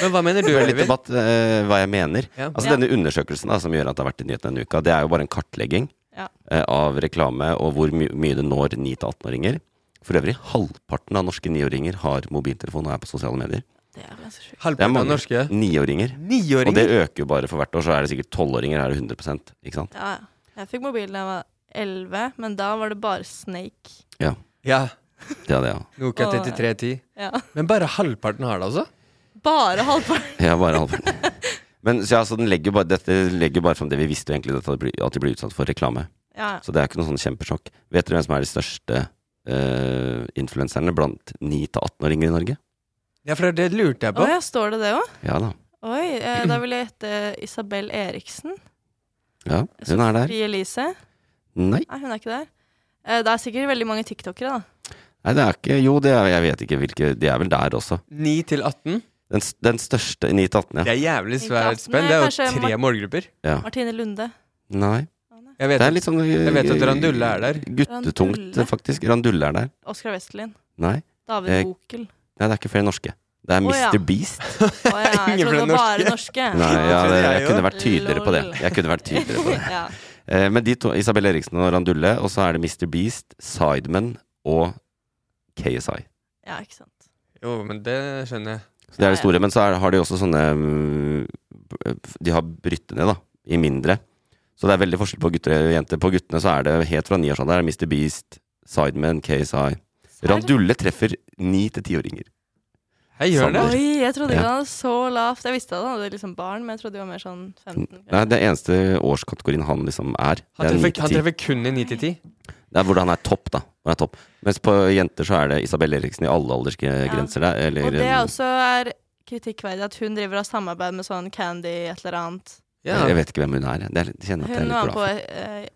[SPEAKER 2] Men hva mener du,
[SPEAKER 1] Det er litt
[SPEAKER 2] Oliver?
[SPEAKER 1] debatt eh, hva jeg mener.
[SPEAKER 2] Ja.
[SPEAKER 1] Altså
[SPEAKER 3] Ja.
[SPEAKER 1] Denne undersøkelsen da, som gjør at det har vært i nyhetene denne uka, det er jo bare en kartlegging
[SPEAKER 3] Ja.
[SPEAKER 1] eh, av reklame og hvor my mye det når 9-18-åringer. For øvrig, halvparten av norske niåringer har mobiltelefon og er på sosiale medier.
[SPEAKER 3] Det er ganske sjukt.
[SPEAKER 1] Det er
[SPEAKER 2] Halvparten av
[SPEAKER 1] mange.
[SPEAKER 2] norske.
[SPEAKER 1] Niåringer. Og det
[SPEAKER 2] Niåringer?
[SPEAKER 1] øker jo bare for hvert år, så er det sikkert tolvåringer her 100 ikke sant?
[SPEAKER 3] Ja, ja. Jeg fikk mobilen da jeg var elleve, men da var det bare Snake.
[SPEAKER 2] Ja.
[SPEAKER 1] Det er det, ja.
[SPEAKER 2] Nokia
[SPEAKER 3] Åh.
[SPEAKER 2] 3310.
[SPEAKER 3] Ja.
[SPEAKER 2] Men bare halvparten har det, altså?
[SPEAKER 3] Bare halvparten.
[SPEAKER 1] Ja, bare halvparten. Men så, ja, så den legger bare, dette legger bare fram det vi visste jo egentlig, dette, at de blir- at de blir utsatt for reklame.
[SPEAKER 3] Ja, ja.
[SPEAKER 1] Så det er ikke noe sånn kjempesjokk. Vet dere hvem som er de største eh, influenserne blant 9-18-åringer i Norge?
[SPEAKER 2] Ja, for det lurte jeg på.
[SPEAKER 3] Å ja, står det det òg?
[SPEAKER 1] Ja da.
[SPEAKER 3] Oi, eh, da vil jeg gjette Isabel Eriksen.
[SPEAKER 1] Ja, hun er der.
[SPEAKER 3] Sofie Elise.
[SPEAKER 1] Nei,
[SPEAKER 3] Nei, hun er ikke der. Eh, det er sikkert veldig mange tiktokere, da.
[SPEAKER 1] nei det er ikke Jo, det er, jeg vet ikke hvilke De er vel der også.
[SPEAKER 2] 9 til 18?
[SPEAKER 1] Den, s- den største 9-18,
[SPEAKER 2] Det
[SPEAKER 1] ja.
[SPEAKER 2] er jævlig
[SPEAKER 3] Ikke
[SPEAKER 2] svært
[SPEAKER 3] 18,
[SPEAKER 2] spenn. Det er
[SPEAKER 3] kanskje
[SPEAKER 2] jo tre
[SPEAKER 3] Mar-
[SPEAKER 2] målgrupper.
[SPEAKER 1] ja.
[SPEAKER 3] Martine Lunde.
[SPEAKER 1] Nei.
[SPEAKER 2] Jeg vet
[SPEAKER 1] Det er
[SPEAKER 2] at
[SPEAKER 1] litt sånn
[SPEAKER 2] jeg vet at Randulle er der.
[SPEAKER 1] Guttetungt,
[SPEAKER 3] Randulle?
[SPEAKER 1] faktisk. Randulle er der.
[SPEAKER 3] Oskar Westlin.
[SPEAKER 1] Nei.
[SPEAKER 3] David
[SPEAKER 1] Eh,
[SPEAKER 3] Bokel.
[SPEAKER 1] Nei, det er ikke flere norske. Det er
[SPEAKER 3] Å, ja.
[SPEAKER 1] Mr. Beast.
[SPEAKER 3] Å ja, jeg
[SPEAKER 2] ingen fra
[SPEAKER 3] trodde det var bare norske.
[SPEAKER 1] Nei, ja,
[SPEAKER 2] trodde
[SPEAKER 1] det,
[SPEAKER 2] jeg
[SPEAKER 1] jeg
[SPEAKER 2] jo.
[SPEAKER 1] kunne vært tydeligere på det.
[SPEAKER 3] Lol.
[SPEAKER 1] Jeg kunne vært tydeligere på det.
[SPEAKER 3] ja.
[SPEAKER 1] Eh, Men de to, Isabel Eriksen og Randulle, og så er det Mr. Beast, Sidemen og KSI.
[SPEAKER 3] ja, ikke sant.
[SPEAKER 2] Jo, men det skjønner jeg.
[SPEAKER 1] Så det er
[SPEAKER 3] Ja, ja.
[SPEAKER 1] det store. Men så er, har de også sånne mm, b- De har brytt ned, da. I mindre. Så det er veldig forskjell på gutter og jenter. På guttene så er det helt fra niårsalderen er det Mr. Beast, Sidemen, KSI.
[SPEAKER 3] Serr?
[SPEAKER 1] Randulle treffer ni til tiåringer.
[SPEAKER 2] Hei, gjør det?
[SPEAKER 1] Sander.
[SPEAKER 3] Oi, jeg
[SPEAKER 1] Ja.
[SPEAKER 3] trodde ikke han var så lavt. Jeg visste at han hadde liksom barn, men jeg trodde de var mer sånn 15.
[SPEAKER 1] Nei, det eneste årskategorien han liksom er, det
[SPEAKER 2] Han
[SPEAKER 1] er 9
[SPEAKER 2] treffer,
[SPEAKER 1] til
[SPEAKER 2] han
[SPEAKER 1] 10.
[SPEAKER 2] treffer kun i 9 til 10.
[SPEAKER 1] Det er hvordan han er topp, da. Hvor han er topp. Mens på jenter så er det Isabel Eriksen i alle aldersgrenser der. Eller,
[SPEAKER 3] Og det også er kritikkverdig at hun driver av samarbeid med sånn Candy et eller annet.
[SPEAKER 2] Ja.
[SPEAKER 1] Jeg vet ikke hvem hun er. jeg. Det er, jeg kjenner at jeg
[SPEAKER 3] Hun
[SPEAKER 1] er litt
[SPEAKER 3] var
[SPEAKER 1] glad
[SPEAKER 3] på
[SPEAKER 1] for.
[SPEAKER 3] eh,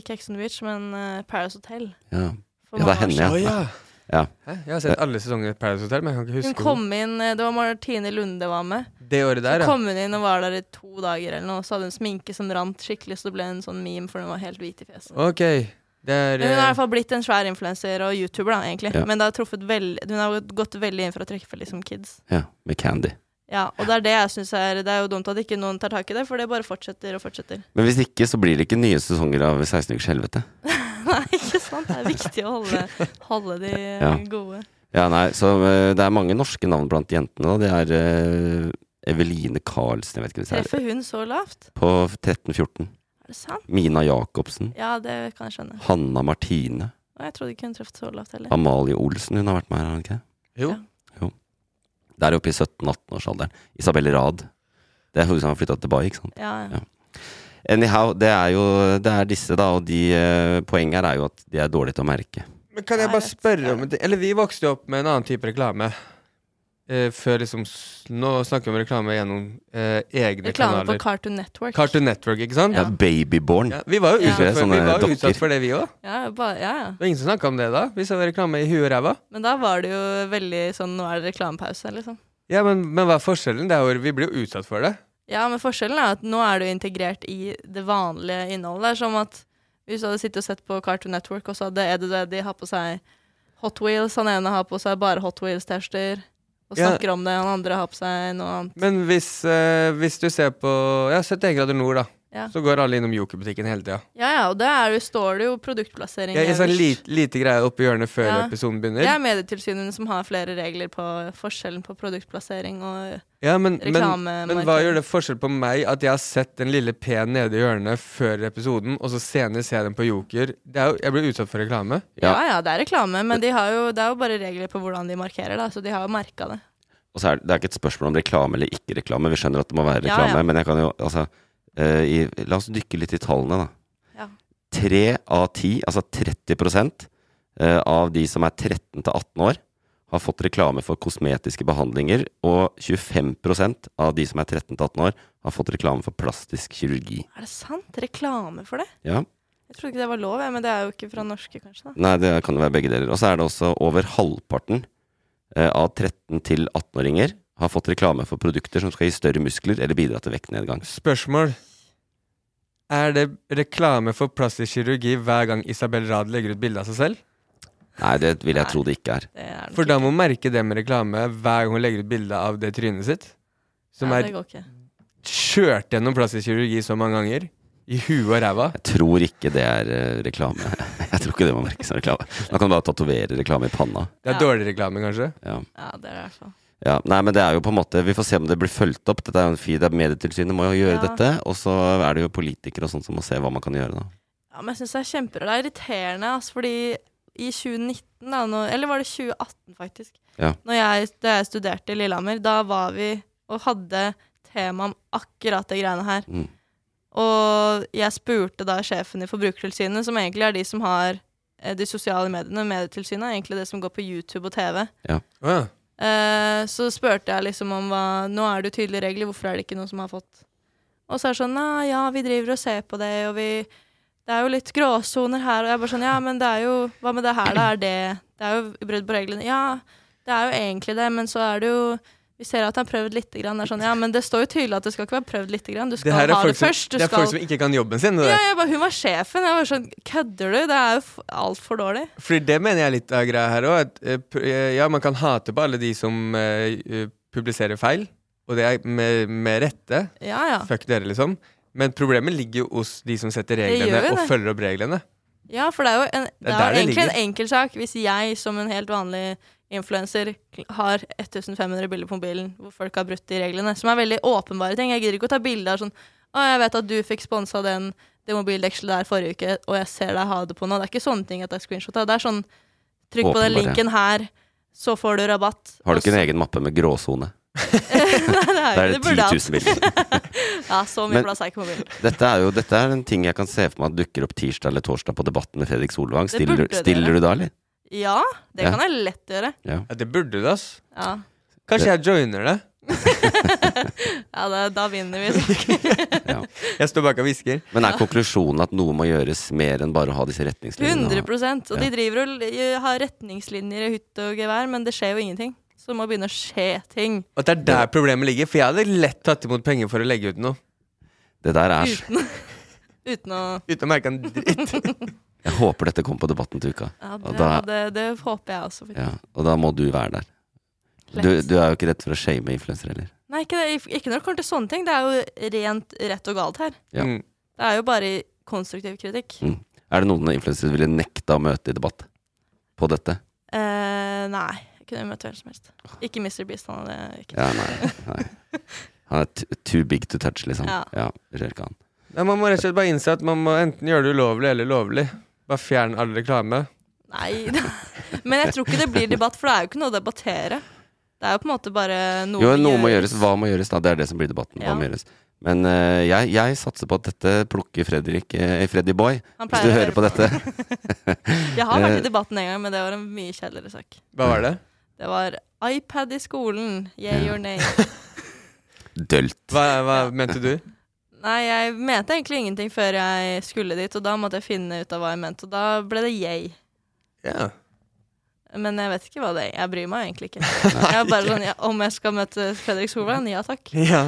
[SPEAKER 3] ikke Ex on the Beach, men eh, Paradise Hotel.
[SPEAKER 1] Ja.
[SPEAKER 3] for
[SPEAKER 1] Ja, det er
[SPEAKER 3] mange år
[SPEAKER 1] henne,
[SPEAKER 2] Å
[SPEAKER 3] siden.
[SPEAKER 2] ja.
[SPEAKER 1] Ja.
[SPEAKER 2] Hæ? Jeg har sett alle sesonger i Paradise Hotel, men jeg kan ikke
[SPEAKER 3] Hun
[SPEAKER 2] huske
[SPEAKER 3] kom inn, eh, Det var Martine Lunde var med.
[SPEAKER 2] hvor- det året der.
[SPEAKER 3] Så
[SPEAKER 2] Ja.
[SPEAKER 3] kom hun inn og var der i to dager, eller noe så hadde hun sminke som rant skikkelig, så det ble en sånn meme, for hun var helt hvit i fjeset.
[SPEAKER 2] Ok. Det er,
[SPEAKER 3] Men hun har i
[SPEAKER 2] eh,
[SPEAKER 3] hvert fall blitt en svær influenser og YouTuber, da, egentlig.
[SPEAKER 1] Ja.
[SPEAKER 3] Men det har truffet veld, hun har gått veldig inn for å treffe liksom, kids.
[SPEAKER 1] Ja, med Candy.
[SPEAKER 3] Ja, og det er det jeg synes er Det er jo dumt at ikke noen tar tak i det, for det bare fortsetter og fortsetter.
[SPEAKER 1] Men hvis ikke, så blir det ikke nye sesonger av 16 ukers helvete.
[SPEAKER 3] Nei, ikke sant? Det er viktig å holde, holde de eh,
[SPEAKER 1] Ja.
[SPEAKER 3] gode.
[SPEAKER 1] Ja, nei, så eh, det er mange norske navn blant jentene, da. Det er eh, Eveline Karlsen, jeg vet ikke hvis det er
[SPEAKER 3] Treffer hun så lavt?
[SPEAKER 1] På 13-14.
[SPEAKER 3] Er det sant?
[SPEAKER 1] Mina Jacobsen.
[SPEAKER 3] Ja, det kan jeg skjønne.
[SPEAKER 1] Hanna Martine.
[SPEAKER 3] Og jeg trodde ikke hun traff så lavt heller.
[SPEAKER 1] Amalie Olsen, hun har vært med her, har hun ikke det?
[SPEAKER 2] jo.
[SPEAKER 3] Ja.
[SPEAKER 1] Der oppe i 17-18-årsalderen. Isabel Rad. Det er hun som har flytta til Dubai, ikke sant?
[SPEAKER 3] Ja,
[SPEAKER 1] Ja.
[SPEAKER 3] ja.
[SPEAKER 1] Anyhow, det er jo det er disse, da, og de eh, poenget her er jo at de er dårlige til å merke.
[SPEAKER 2] Men kan jeg
[SPEAKER 3] Nei,
[SPEAKER 2] bare
[SPEAKER 3] det-
[SPEAKER 2] spørre om det? Eller vi vokste jo opp med en annen type reklame. Eh, før liksom s- Nå snakker vi om reklame gjennom eh, egne
[SPEAKER 3] Reklame på
[SPEAKER 2] kanaler.
[SPEAKER 3] Cartoon Network.
[SPEAKER 2] Cartoon Network, ikke sant?
[SPEAKER 1] Ja,
[SPEAKER 2] Ja.
[SPEAKER 1] Babyborn.
[SPEAKER 2] Vi var jo
[SPEAKER 3] Ja.
[SPEAKER 2] utsatt for, vi
[SPEAKER 1] Sånne
[SPEAKER 2] var jo
[SPEAKER 1] dokker.
[SPEAKER 2] utsatt for det, vi òg.
[SPEAKER 3] Ja, bare, ja, ja.
[SPEAKER 2] Det var ingen som snakka om det da. Vi så reklame i huet og ræva.
[SPEAKER 3] Men da var det jo veldig sånn Nå er det reklamepause, liksom.
[SPEAKER 2] Ja, men, men hva er forskjellen? Det er jo, vi blir jo utsatt for det.
[SPEAKER 3] Ja, men forskjellen er at nå er du integrert i det vanlige innholdet. Det er som at hvis du hadde sittet og sett på Cartoon Network, og så hadde Ed og Eddy har på seg Hot Wheels, han ene har på seg bare Hot Wheels-T-skjorter og
[SPEAKER 2] Ja.
[SPEAKER 3] snakker om det, han andre har på seg noe annet.
[SPEAKER 2] Men hvis, eh, hvis du ser på Ja, 71 grader nord, da.
[SPEAKER 3] Ja.
[SPEAKER 2] Så går alle innom Joker-butikken hele tida.
[SPEAKER 3] Ja ja, og der er det, står det jo produktplassering
[SPEAKER 2] Ja, en sånn
[SPEAKER 3] øverst.
[SPEAKER 2] lite, lite greie oppi hjørnet før
[SPEAKER 3] Ja.
[SPEAKER 2] episoden begynner.
[SPEAKER 3] Det er Medietilsynet som har flere regler på forskjellen på produktplassering og
[SPEAKER 2] Ja, men, men,
[SPEAKER 3] reklamemarked.
[SPEAKER 2] men hva gjør det forskjell på meg at jeg har sett den lille P-en nede i hjørnet før episoden, og så senere ser jeg den på Joker? Det er jo, jeg blir utsatt for reklame.
[SPEAKER 3] Ja. ja det er reklame, men de har jo, det er jo bare regler på hvordan de markerer, da, så de har jo merka det.
[SPEAKER 1] Og så er det, det er ikke et spørsmål om reklame eller ikke reklame. Vi skjønner at det må være
[SPEAKER 3] Ja,
[SPEAKER 1] reklame,
[SPEAKER 3] ja.
[SPEAKER 1] men jeg kan jo altså eh, i, La oss dykke litt i tallene, da.
[SPEAKER 3] Ja.
[SPEAKER 1] Tre av ti, altså 30 eh, av de som er 13 til 18 år, har fått reklame for kosmetiske behandlinger, og 25 av de som er 13 til 18 år, har fått reklame for plastisk kirurgi.
[SPEAKER 3] Er det sant? Reklame for det?
[SPEAKER 1] Ja.
[SPEAKER 3] Jeg trodde ikke det var lov, jeg, men det er jo ikke fra norske, kanskje. da.
[SPEAKER 1] Nei, det kan jo være begge deler. Og så er det også over halvparten eh, av 13 til 18-åringer har fått reklame for produkter som skal gi større muskler eller bidra til vektnedgang.
[SPEAKER 2] Spørsmål. Er det reklame for plastisk kirurgi hver gang Isabel Rad legger ut bilde av seg selv?
[SPEAKER 1] Nei, det vil jeg
[SPEAKER 3] Nei.
[SPEAKER 1] tro det ikke er.
[SPEAKER 3] Det er nok
[SPEAKER 2] For da
[SPEAKER 3] ikke.
[SPEAKER 2] må hun merke det med reklame hver gang hun legger ut bilde av det trynet sitt. Som
[SPEAKER 3] Nei,
[SPEAKER 2] er
[SPEAKER 3] det går ikke.
[SPEAKER 2] kjørt gjennom plastisk kirurgi så mange ganger. I huet og ræva.
[SPEAKER 1] Jeg tror ikke det er eh, reklame. Jeg tror ikke det må merkes som reklame. Man kan bare tatovere reklame i panna.
[SPEAKER 2] Det er
[SPEAKER 3] Ja.
[SPEAKER 2] dårlig reklame, kanskje.
[SPEAKER 1] Ja.
[SPEAKER 3] Ja, det er det i hvert fall.
[SPEAKER 1] Ja, nei, men det er jo på en måte Vi får se om det blir fulgt opp. Dette er jo en feed, det er Medietilsynet må jo gjøre
[SPEAKER 3] Ja.
[SPEAKER 1] dette. Og så er det jo politikere og sånt som må se hva man kan gjøre, da.
[SPEAKER 3] Ja, men jeg syns det er kjemperart. Det er irriterende, ass, fordi i 2019, da, nå, eller var det 2018, faktisk,
[SPEAKER 1] Ja.
[SPEAKER 3] når jeg, da jeg studerte i Lillehammer, da var vi og hadde tema om akkurat det greiene her.
[SPEAKER 1] Mm.
[SPEAKER 3] Og jeg spurte da sjefen i Forbrukertilsynet, som egentlig er de som har eh, de sosiale mediene, Medietilsynet, er egentlig det som går på YouTube og TV.
[SPEAKER 2] Å ja.
[SPEAKER 3] Eh, så spurte jeg liksom om hva Nå er det jo tydelige regler, hvorfor er det ikke noen som har fått Og så er det sånn Nei, ja, vi driver og ser på det, og vi Det er jo litt gråsoner her, og jeg bare sånn Ja, men det er jo Hva med det her, da? Er det Det er jo brudd på reglene. Ja, det er jo egentlig det, men så er det jo vi ser at han har prøvd lite grann. Det er sånn, ja, men det står jo tydelig at det skal ikke være prøvd lite grann. Du skal
[SPEAKER 2] Det her er
[SPEAKER 3] ha det
[SPEAKER 2] folk som,
[SPEAKER 3] først. Du
[SPEAKER 2] det er
[SPEAKER 3] skal
[SPEAKER 2] folk som ikke kan jobben sin. Det
[SPEAKER 3] ja,
[SPEAKER 2] der.
[SPEAKER 3] jeg bare, Hun var sjefen. Jeg var sånn Kødder du? Det er jo f- altfor dårlig.
[SPEAKER 2] For det mener jeg er litt av greia her òg. eh, Ja, man kan hate på alle de som eh, eh, publiserer feil, og det er med, med rette.
[SPEAKER 3] Ja, ja.
[SPEAKER 2] Fuck dere, liksom. Men problemet ligger jo hos de som setter
[SPEAKER 3] gjør
[SPEAKER 2] reglene
[SPEAKER 3] jo
[SPEAKER 2] og
[SPEAKER 3] det.
[SPEAKER 2] følger opp reglene.
[SPEAKER 3] Ja, for det er jo, en,
[SPEAKER 2] er der
[SPEAKER 3] det er jo
[SPEAKER 2] det
[SPEAKER 3] egentlig
[SPEAKER 2] ligger.
[SPEAKER 3] en enkel sak. Hvis jeg som en helt vanlig influenser har 1500 bilder på mobilen hvor folk har brutt de reglene, som er veldig åpenbare ting. Jeg gidder ikke å ta bilde av sånn Å, jeg vet at du fikk sponsa den, det mobildekselet der forrige uke, og jeg ser deg ha det på nå. Det er ikke sånne ting at det er screenshot av. Det er sånn Trykk på den
[SPEAKER 1] Åpenbare.
[SPEAKER 3] linken her, så får du rabatt.
[SPEAKER 1] Har du ikke en
[SPEAKER 3] Og
[SPEAKER 1] egen mappe med gråsone?
[SPEAKER 3] så- Nei, det
[SPEAKER 1] Der
[SPEAKER 3] er
[SPEAKER 1] er det
[SPEAKER 3] jo det burde
[SPEAKER 1] 10
[SPEAKER 3] jeg
[SPEAKER 1] 000 bilder.
[SPEAKER 3] hatt. Ja, så mye
[SPEAKER 1] Men-
[SPEAKER 3] plass er ikke mobilen.
[SPEAKER 1] Dette er jo dette er en ting jeg kan se for meg at dukker opp tirsdag eller torsdag på Debatten med Fredrik Solvang.
[SPEAKER 3] Det
[SPEAKER 1] Stiller,
[SPEAKER 3] burde det
[SPEAKER 1] stiller du da, eller?
[SPEAKER 3] Ja, det
[SPEAKER 1] Ja.
[SPEAKER 3] kan jeg lett gjøre.
[SPEAKER 2] Ja, det burde du, ass.
[SPEAKER 3] Ja,
[SPEAKER 2] Kanskje jeg joiner det?
[SPEAKER 3] ja da, da vinner vi.
[SPEAKER 2] Jeg står bak og hvisker.
[SPEAKER 1] Men er konklusjonen at noe må gjøres mer enn bare å ha disse retningslinjene?
[SPEAKER 3] 100 Og
[SPEAKER 1] Ja.
[SPEAKER 3] de driver og l- har retningslinjer i hytte og gevær, men det skjer jo ingenting. Så det må begynne å skje ting
[SPEAKER 2] Og at det er der problemet ligger. For jeg hadde lett tatt imot penger for å legge ut noe.
[SPEAKER 1] Det der er
[SPEAKER 3] uten, uten å
[SPEAKER 2] Uten å merke en dritt.
[SPEAKER 1] Jeg håper dette kommer på Debatten til uka.
[SPEAKER 3] Ja, det,
[SPEAKER 1] Og da-
[SPEAKER 3] det, det håper jeg også. faktisk.
[SPEAKER 1] Ja, og da må du være der. Du,
[SPEAKER 3] Lett.
[SPEAKER 1] du er jo ikke redd for å shame influensere heller.
[SPEAKER 3] Nei, ikke, det, ikke når det kommer til sånne ting. Det er jo rent rett og galt her.
[SPEAKER 1] Ja.
[SPEAKER 2] Mm.
[SPEAKER 3] Det er jo bare konstruktiv kritikk.
[SPEAKER 1] Mm. Er det noen influensere du ville nekta å møte i debatt på dette?
[SPEAKER 3] Eh, nei. Jeg kunne møtt hvem som helst. Ikke Mr. Beast. Han hadde ikke
[SPEAKER 1] Ja, nei, nei. Han er t- too big to touch, liksom.
[SPEAKER 3] Ja.
[SPEAKER 1] Ja, det skjer ikke han.
[SPEAKER 2] Nei, man må rett og slett bare innse at man må enten gjøre det ulovlig eller lovlig. Bare fjern all reklame.
[SPEAKER 3] Nei. da. Men jeg tror ikke det blir debatt, for det er jo ikke noe å debattere. Det er jo på en måte bare noe
[SPEAKER 1] Jo,
[SPEAKER 3] vi
[SPEAKER 1] noe må
[SPEAKER 3] gjør.
[SPEAKER 1] gjøres. Hva må gjøres, da? Det er det som blir debatten. Hva
[SPEAKER 3] Ja.
[SPEAKER 1] må gjøres? Men eh, jeg, jeg satser på at dette plukker Fredrik eh, Freddy Boy. Hvis
[SPEAKER 3] Han pleier
[SPEAKER 1] du
[SPEAKER 3] å
[SPEAKER 1] hører på
[SPEAKER 3] høre på.
[SPEAKER 1] dette. Eh.
[SPEAKER 3] Jeg har vært i debatten en gang, men det var en mye kjedeligere sak.
[SPEAKER 2] Hva var det?
[SPEAKER 3] Det var iPad i skolen, yeah
[SPEAKER 1] Ja.
[SPEAKER 3] or nay.
[SPEAKER 1] Dølt.
[SPEAKER 2] Hva, hva mente du?
[SPEAKER 3] Nei, jeg mente egentlig ingenting før jeg skulle dit, og da måtte jeg finne ut av hva jeg mente, og da ble det yay.
[SPEAKER 2] Ja.
[SPEAKER 3] Men jeg vet ikke hva det er. Jeg bryr meg egentlig ikke. Jeg er bare sånn, ja, Om jeg skal møte Fredrik Solvang? Ja takk.
[SPEAKER 2] ja.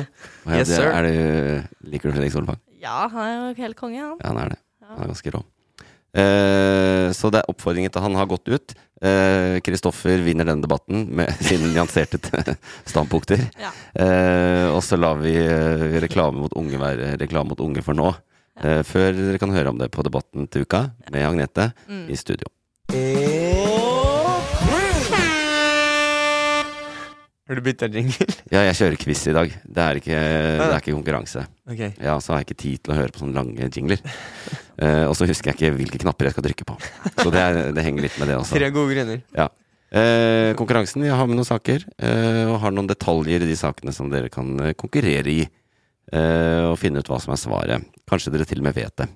[SPEAKER 1] Og jeg-
[SPEAKER 2] Yes, sir.
[SPEAKER 1] Er du, liker du Fredrik Solvang?
[SPEAKER 3] Ja, han er jo helt konge, han.
[SPEAKER 1] Ja, han er det. Han er
[SPEAKER 3] Ja.
[SPEAKER 1] ganske rå. Eh, så det er oppfordringen til han har gått ut. Eh, Kristoffer vinner denne debatten med sine nyanserte t- standpunkter.
[SPEAKER 3] Ja.
[SPEAKER 1] Eh, og så lar vi eh, reklame mot unge være reklame mot unge for nå. Eh, før dere kan høre om det på Debatten til uka med Agnete
[SPEAKER 3] Mm.
[SPEAKER 1] i studio.
[SPEAKER 2] Har du bytta jingle?
[SPEAKER 1] Ja, jeg kjører quiz i dag. Det er ikke, det er ikke konkurranse.
[SPEAKER 2] Ok.
[SPEAKER 1] Ja, så har jeg ikke tid til å høre på sånne lange jingler. Eh, og så husker jeg ikke hvilke knapper jeg skal trykke på. Så det, er, det henger litt med det også.
[SPEAKER 2] Tre gode grunner.
[SPEAKER 1] Ja. Eh, konkurransen, jeg har med noen saker, eh, og har noen detaljer i de sakene som dere kan eh, konkurrere i. Eh, og finne ut hva som er svaret. Kanskje dere til og med vet det.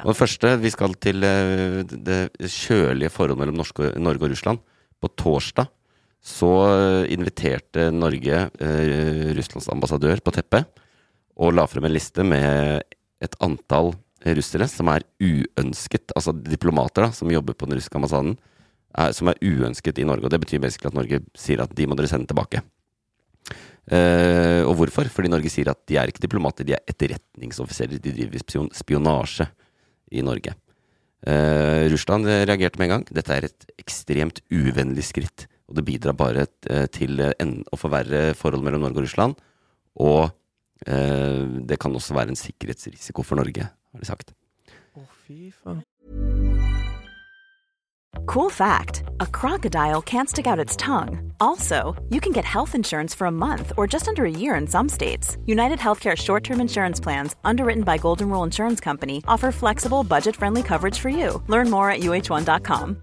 [SPEAKER 3] Ja.
[SPEAKER 1] Og det første, vi skal til eh, det kjølige forholdet mellom Norske, Norge og Russland. På torsdag så eh, inviterte Norge eh, Russlands ambassadør på teppet og la frem en liste med et antall russere som er uønsket, altså diplomater da, som jobber på den russiske ambassaden, er, som er uønsket i Norge. Og det betyr basically at Norge sier at de må dere sende tilbake. Eh, og hvorfor? Fordi Norge sier at de er ikke diplomater, de er etterretningsoffiserer. De driver spion spionasje i Norge. Eh, Russland eh, reagerte med en gang. Dette er et ekstremt uvennlig skritt. Og det bidrar bare eh, til eh, en, å forverre forholdet mellom Norge og Russland. Og eh, det kan også være en sikkerhetsrisiko for Norge, har de sagt.
[SPEAKER 2] Å, fy faen.
[SPEAKER 4] Cool fact a crocodile can't stick out its tongue. Also, you can get health insurance for a month or just under a year in some states. United Healthcare short term insurance plans, underwritten by Golden Rule Insurance Company, offer flexible, budget friendly coverage for you. Learn more at uh1.com.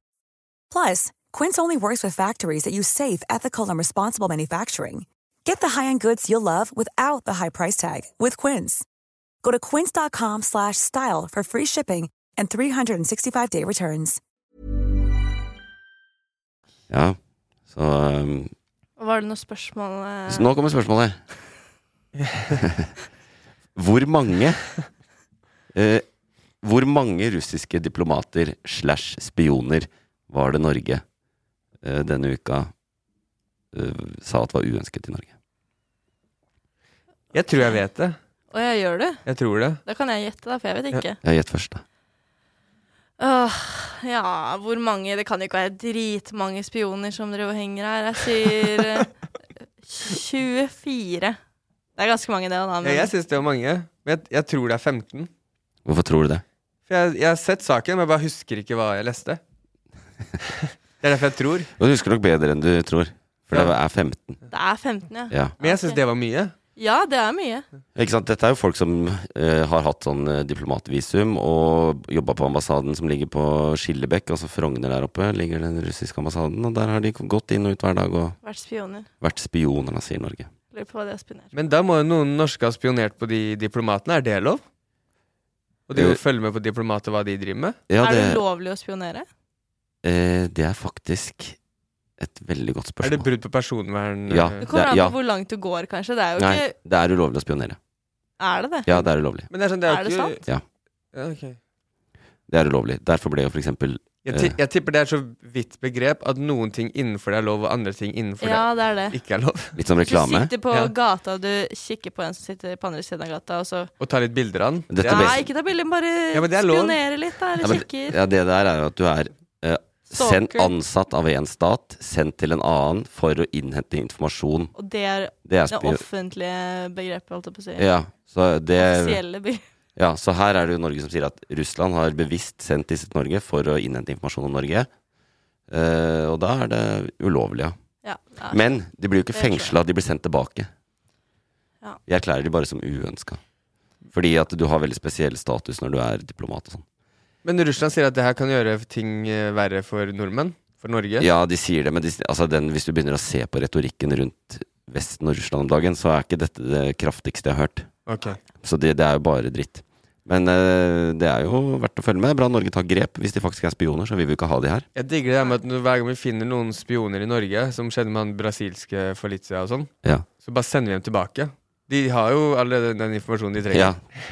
[SPEAKER 5] Plus, Quince only works with factories that use safe, ethical, and responsible manufacturing. Get the high-end goods you'll love without the high price tag with Quince. Go to quince.com/style slash style for free shipping and 365-day returns.
[SPEAKER 1] Ja, så, um,
[SPEAKER 3] Var det noe spørsmål? eh?
[SPEAKER 1] så Nå kommer spørsmålet. hvor mange eh, Hvor mange russiske diplomater slash spioner var det Norge eh, denne uka eh, sa at var uønsket i Norge?
[SPEAKER 2] Jeg tror jeg vet det.
[SPEAKER 3] Og jeg gjør det.
[SPEAKER 2] Jeg tror det.
[SPEAKER 3] Da kan jeg gjette, da, for jeg vet ikke.
[SPEAKER 1] Jeg gjett først, da.
[SPEAKER 3] Åh, ja, hvor mange? Det kan jo ikke være dritmange spioner som driver og henger her. Jeg sier eh, 24. Det er ganske mange, det. da
[SPEAKER 2] Ja, jeg syns det var mange, men jeg, jeg tror det er 15.
[SPEAKER 1] Hvorfor tror du det?
[SPEAKER 2] For jeg, jeg har sett saken, men jeg bare husker ikke hva jeg leste. det er derfor jeg tror.
[SPEAKER 1] Og du husker nok bedre enn du tror. For det er 15.
[SPEAKER 3] Det er 15, ja.
[SPEAKER 1] Ja.
[SPEAKER 2] Men jeg syns det var mye.
[SPEAKER 3] Ja, det er mye.
[SPEAKER 1] Ikke sant? Dette er jo folk som eh, har hatt sånn eh, diplomatvisum og jobba på ambassaden som ligger på Skillebekk, altså Frogner der oppe, ligger den russiske ambassaden. Og der har de gått inn og ut hver dag og
[SPEAKER 3] Vært spioner.
[SPEAKER 1] vært spioner, da, sier Norge.
[SPEAKER 3] Lurer på hva de har spionert.
[SPEAKER 2] Men da må jo noen norske ha spionert på de diplomatene. Er det lov? Og de
[SPEAKER 1] Eh.
[SPEAKER 2] må følge med på diplomater hva de driver med.
[SPEAKER 1] Ja,
[SPEAKER 3] er
[SPEAKER 1] det,
[SPEAKER 3] det ulovlig å spionere?
[SPEAKER 1] eh, det er faktisk et veldig godt
[SPEAKER 2] Er det
[SPEAKER 1] spørsmål.
[SPEAKER 2] brudd på personvern?
[SPEAKER 1] Ja.
[SPEAKER 2] eh?
[SPEAKER 3] Det kommer
[SPEAKER 1] Det-
[SPEAKER 3] an på
[SPEAKER 1] ja.
[SPEAKER 3] hvor langt du går, kanskje. Det er jo
[SPEAKER 1] Nei,
[SPEAKER 3] ikke
[SPEAKER 1] det er ulovlig å spionere.
[SPEAKER 3] Er det det?
[SPEAKER 1] Ja, det er ulovlig.
[SPEAKER 2] Men det er, sånn, det er, jo
[SPEAKER 3] Er det
[SPEAKER 2] ikke...
[SPEAKER 3] sant?
[SPEAKER 1] Ja.
[SPEAKER 2] Ja, ok.
[SPEAKER 1] Det er ulovlig. Derfor ble jo for eksempel
[SPEAKER 2] Jeg,
[SPEAKER 1] Eh.
[SPEAKER 2] ti- jeg tipper det er så vidt begrep at noen ting innenfor det er lov, og andre ting innenfor
[SPEAKER 3] Ja, det er det.
[SPEAKER 2] det ikke er lov.
[SPEAKER 1] litt som
[SPEAKER 3] Du
[SPEAKER 1] reklame.
[SPEAKER 3] sitter på
[SPEAKER 2] Ja.
[SPEAKER 3] gata, og du kikker på en som sitter på andre siden av gata, og så
[SPEAKER 2] Å ta litt bilder av den.
[SPEAKER 1] Dette
[SPEAKER 2] Det er-
[SPEAKER 1] ble-
[SPEAKER 3] Nei, ikke ta bilde, bare
[SPEAKER 2] Ja, men det er lov.
[SPEAKER 3] spionere litt, da. Eller
[SPEAKER 1] Ja, men-
[SPEAKER 3] kikker.
[SPEAKER 1] Ja, det der er jo at du er eh, sendt,
[SPEAKER 3] Stalker.
[SPEAKER 1] ansatt av en stat, sendt til en annen for å innhente informasjon.
[SPEAKER 3] Og det er
[SPEAKER 1] Det er
[SPEAKER 3] det
[SPEAKER 1] spio...
[SPEAKER 3] offentlige begrepet, holdt jeg på å si.
[SPEAKER 1] Ja, så det
[SPEAKER 3] Offisielle begrep.
[SPEAKER 1] Ja, så her er det jo Norge som sier at Russland har bevisst sendt disse til Norge for å innhente informasjon om Norge. Eh, og da er det ulovlig, ja.
[SPEAKER 3] Ja, ja.
[SPEAKER 1] Men de blir jo ikke
[SPEAKER 3] Det skjønner jeg.
[SPEAKER 1] fengsla, de blir sendt tilbake.
[SPEAKER 3] Ja.
[SPEAKER 1] Vi erklærer de bare som uønska. Fordi at du har veldig spesiell status når du er diplomat og sånn.
[SPEAKER 2] Men Russland sier at det her kan gjøre ting eh, verre for nordmenn. For Norge.
[SPEAKER 1] Ja, de sier det, men de, altså den, hvis du begynner å se på retorikken rundt Vesten og Russland om dagen, så er ikke dette det kraftigste jeg har hørt.
[SPEAKER 2] Ok.
[SPEAKER 1] Så det, det er jo bare dritt. Men eh, det er jo verdt å følge med. Bra Norge tar grep. Hvis de faktisk er spioner, så vil vi jo ikke ha de her.
[SPEAKER 2] Jeg digger det der med at når- hver gang vi finner noen spioner i Norge, som skjedde med han brasilske Felicia og sånn,
[SPEAKER 1] Ja.
[SPEAKER 2] så bare sender vi dem tilbake. De har jo allerede den informasjonen de trenger.
[SPEAKER 1] Ja,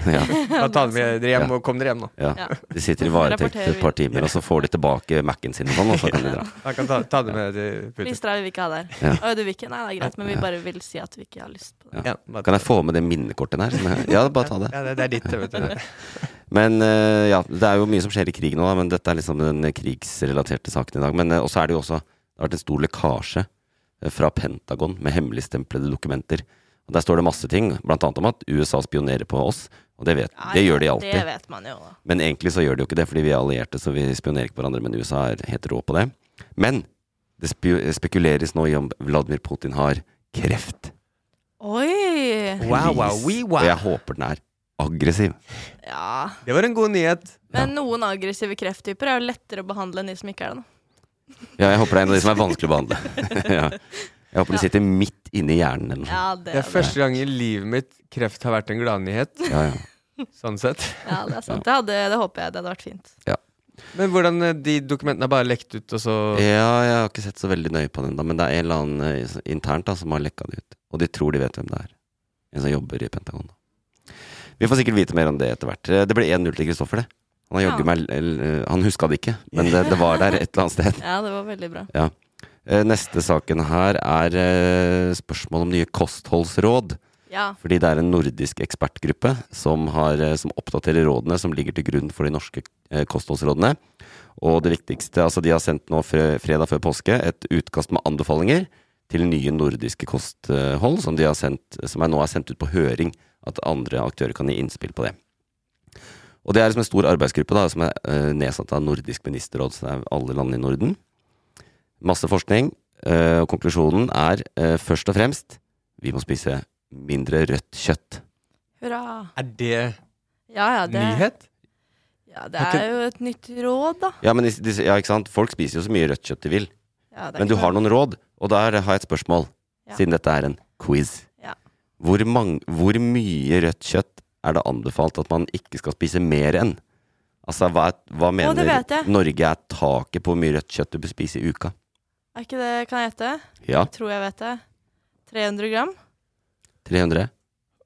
[SPEAKER 1] ja,
[SPEAKER 2] Bare ta dem med dere hjem,
[SPEAKER 1] Ja.
[SPEAKER 2] og kom dere hjem nå.
[SPEAKER 1] ja.
[SPEAKER 3] Ja.
[SPEAKER 1] De sitter i varetekt
[SPEAKER 3] Rapporterer
[SPEAKER 1] et par timer, og så får de tilbake Mac-en sin og sånn, og så kan de dra.
[SPEAKER 2] Jeg kan ta, ta dem med til Putin.
[SPEAKER 3] Lister vil vi ikke ha der.
[SPEAKER 1] Ja.
[SPEAKER 3] Å, du vil ikke? Nei, det er greit, men vi
[SPEAKER 1] Ja.
[SPEAKER 3] bare vil si at vi ikke har lyst på det.
[SPEAKER 2] Ja, bare
[SPEAKER 1] Kan
[SPEAKER 2] ta
[SPEAKER 1] jeg få med det minnekortet der? Som jeg, ja, bare ta det.
[SPEAKER 2] Ja, det, det er ditt, vet du.
[SPEAKER 1] Men eh, ja, det er jo mye som skjer i krig nå, da, men dette er liksom den krigsrelaterte saken i dag. Men uh, også er det jo også Det har vært en stor lekkasje eh, fra Pentagon med hemmeligstemplede dokumenter. Og Der står det masse ting, blant annet om at USA spionerer på oss. Og det, vet,
[SPEAKER 3] Nei,
[SPEAKER 1] det gjør de
[SPEAKER 3] Det
[SPEAKER 1] alltid.
[SPEAKER 3] vet man jo. da.
[SPEAKER 1] Men egentlig så gjør de jo ikke det, fordi vi er allierte, så vi spionerer ikke på hverandre. Men USA er helt rå på det. Men det spu- spekuleres nå i om Vladimir Putin har kreft.
[SPEAKER 3] Oi!
[SPEAKER 2] Wow, wow,
[SPEAKER 1] Heldigvis.
[SPEAKER 2] wee, wow.
[SPEAKER 1] Og jeg håper den er aggressiv.
[SPEAKER 3] Ja.
[SPEAKER 2] Det var en god nyhet.
[SPEAKER 3] Men noen aggressive krefttyper er jo lettere å behandle enn de som ikke er det. da.
[SPEAKER 1] Ja, jeg håper det er en av de som er vanskelig å behandle. ja. Jeg håper det sitter midt inni hjernen eller noe.
[SPEAKER 3] Ja,
[SPEAKER 2] Det
[SPEAKER 3] det
[SPEAKER 2] er første gang i livet mitt kreft har vært en gladnyhet.
[SPEAKER 1] sånt. Ja, ja.
[SPEAKER 2] Sånn sett.
[SPEAKER 3] Ja, det er sant. Det, hadde, det håper jeg. Det hadde vært fint.
[SPEAKER 2] Men hvordan eh, de dokumentene er bare lekt ut, og så
[SPEAKER 1] ja, jeg har ikke sett så veldig nøye på den ennå, men det er en eller annen eh, så- internt da, som har lekka det ut. Og de tror de vet hvem det er. En som jobber i Pentagon. Da. Vi får sikkert vite mer om det etter hvert. Eh, Det ble 1-0 til Kristoffer, det. Han, har jaggu
[SPEAKER 3] Ja.
[SPEAKER 1] meg, l- l- han huska det ikke, men det, det var der et eller annet sted.
[SPEAKER 3] Ja, det var veldig bra.
[SPEAKER 1] Eh, Neste saken her er eh, spørsmål om nye kostholdsråd.
[SPEAKER 3] Ja.
[SPEAKER 1] Fordi det er en nordisk ekspertgruppe som, har, eh, som oppdaterer rådene som ligger til grunn for de norske eh, kostholdsrådene. Og det viktigste, altså de har sendt nå fre- fredag før påske et utkast med anbefalinger til nye nordiske kosthold, som, de har sendt, som er nå er sendt ut på høring. At andre aktører kan gi innspill på det. Og det er liksom en stor arbeidsgruppe da, som er eh, nedsatt av Nordisk ministerråd, så det er alle landene i Norden. Masse forskning, eh, og konklusjonen er eh, først og fremst vi må spise mindre rødt kjøtt.
[SPEAKER 3] Hurra.
[SPEAKER 2] Er det
[SPEAKER 3] Ja, ja, det,
[SPEAKER 2] nyhet?
[SPEAKER 3] ja, det er jo et nytt råd, da.
[SPEAKER 1] Ja, men de, de, ja, ikke sant? Folk spiser jo så mye rødt kjøtt de vil.
[SPEAKER 3] Ja, det er
[SPEAKER 1] Men
[SPEAKER 3] ikke
[SPEAKER 1] du
[SPEAKER 3] noe-
[SPEAKER 1] har noen råd, og der har jeg et spørsmål.
[SPEAKER 3] Ja.
[SPEAKER 1] Siden dette er en quiz.
[SPEAKER 3] Ja.
[SPEAKER 1] Hvor, mang, hvor mye rødt kjøtt er det anbefalt at man ikke skal spise mer enn? Altså, hva, er- hva
[SPEAKER 3] Å, det
[SPEAKER 1] mener
[SPEAKER 3] vet jeg.
[SPEAKER 1] Norge er taket på hvor mye rødt kjøtt du bør spise i uka?
[SPEAKER 3] Er ikke det Kan jeg gjette?
[SPEAKER 1] Ja,
[SPEAKER 3] Jeg tror jeg vet det. 300 gram
[SPEAKER 1] 300?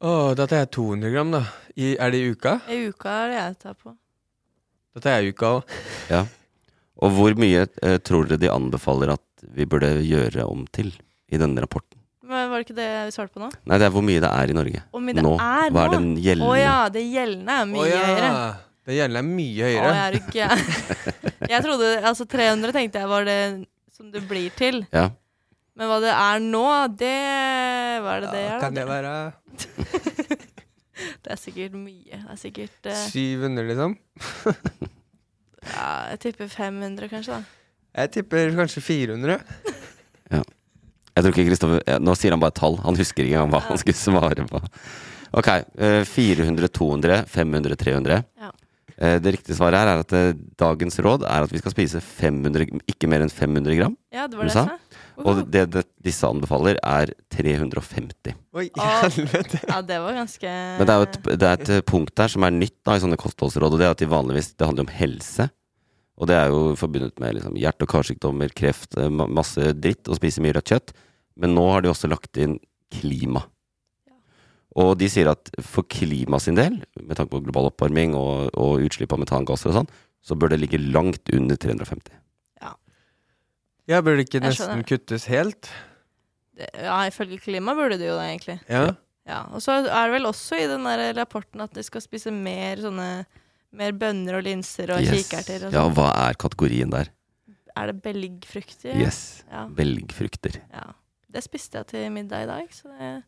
[SPEAKER 2] Å, da tar jeg 200 gram, da. I, er det i uka?
[SPEAKER 3] i uka er det jeg tar på.
[SPEAKER 2] Da tar jeg i uka òg.
[SPEAKER 1] Og hvor mye eh, tror dere de anbefaler at vi burde gjøre om til i denne rapporten?
[SPEAKER 3] Men var det ikke det vi svarte på nå?
[SPEAKER 1] Nei, det er hvor mye det er i Norge.
[SPEAKER 3] Hvor mye det
[SPEAKER 1] nå.
[SPEAKER 3] er
[SPEAKER 1] Hva er
[SPEAKER 3] nå?
[SPEAKER 1] den
[SPEAKER 3] Å
[SPEAKER 1] gjeldende?
[SPEAKER 3] ja, det gjeldende er mye høyere.
[SPEAKER 2] Den hjernen er mye
[SPEAKER 3] Å,
[SPEAKER 2] høyere.
[SPEAKER 3] jeg er jo gæren. Jeg trodde Altså, 300 tenkte jeg var det som det blir til.
[SPEAKER 1] Ja.
[SPEAKER 3] Men hva det er nå, det Hva er det det
[SPEAKER 2] Ja,
[SPEAKER 3] er? da?
[SPEAKER 2] Kan det være
[SPEAKER 3] Det er sikkert mye. Det er sikkert eh,
[SPEAKER 2] 700, liksom?
[SPEAKER 3] ja, Jeg tipper 500, kanskje. da
[SPEAKER 2] Jeg tipper kanskje 400.
[SPEAKER 1] Jeg tror ikke Kristoffer ja, Nå sier han bare tall. Han husker ikke engang hva han skulle svare på. Ok. eh, 400, 200, 500, 300.
[SPEAKER 3] Ja.
[SPEAKER 1] Eh, Det riktige svaret her er at eh, dagens råd er at vi skal spise 500, ikke mer enn 500 gram.
[SPEAKER 3] Ja, det var det
[SPEAKER 1] Du sa?
[SPEAKER 3] jeg sa.
[SPEAKER 1] Og det, det disse anbefaler, er 350.
[SPEAKER 2] Oi, i
[SPEAKER 3] Å.
[SPEAKER 2] helvete.
[SPEAKER 3] Ja, det var ganske
[SPEAKER 1] Men det er jo et, det er et punkt der som er nytt da, i sånne kostholdsråd, og det er at de vanligvis det handler om helse. Og det er jo forbundet med liksom, hjerte- og karsykdommer, kreft, eh, ma- masse dritt, og spise mye rødt kjøtt. Men nå har de også lagt inn klima. Og de sier at for klima sin del, med tanke på global oppvarming og, og utslipp av metangasser og sånn, så bør det ligge langt under 350.
[SPEAKER 2] Ja, burde det ikke
[SPEAKER 3] Jeg skjønner.
[SPEAKER 2] nesten kuttes helt?
[SPEAKER 3] det- Ja, ifølge klima burde det jo det, egentlig.
[SPEAKER 2] Ja.
[SPEAKER 3] Ja, Og så er det vel også i den der rapporten at de skal spise mer sånne Mer bønner og linser og
[SPEAKER 1] Yes.
[SPEAKER 3] kikerter. Og
[SPEAKER 1] Ja,
[SPEAKER 3] sånn.
[SPEAKER 1] hva er kategorien der?
[SPEAKER 3] Er det belgfrukter?
[SPEAKER 1] Yes.
[SPEAKER 3] Ja,
[SPEAKER 1] Belgfrukter.
[SPEAKER 3] ja. Det spiste jeg til middag i dag, så det,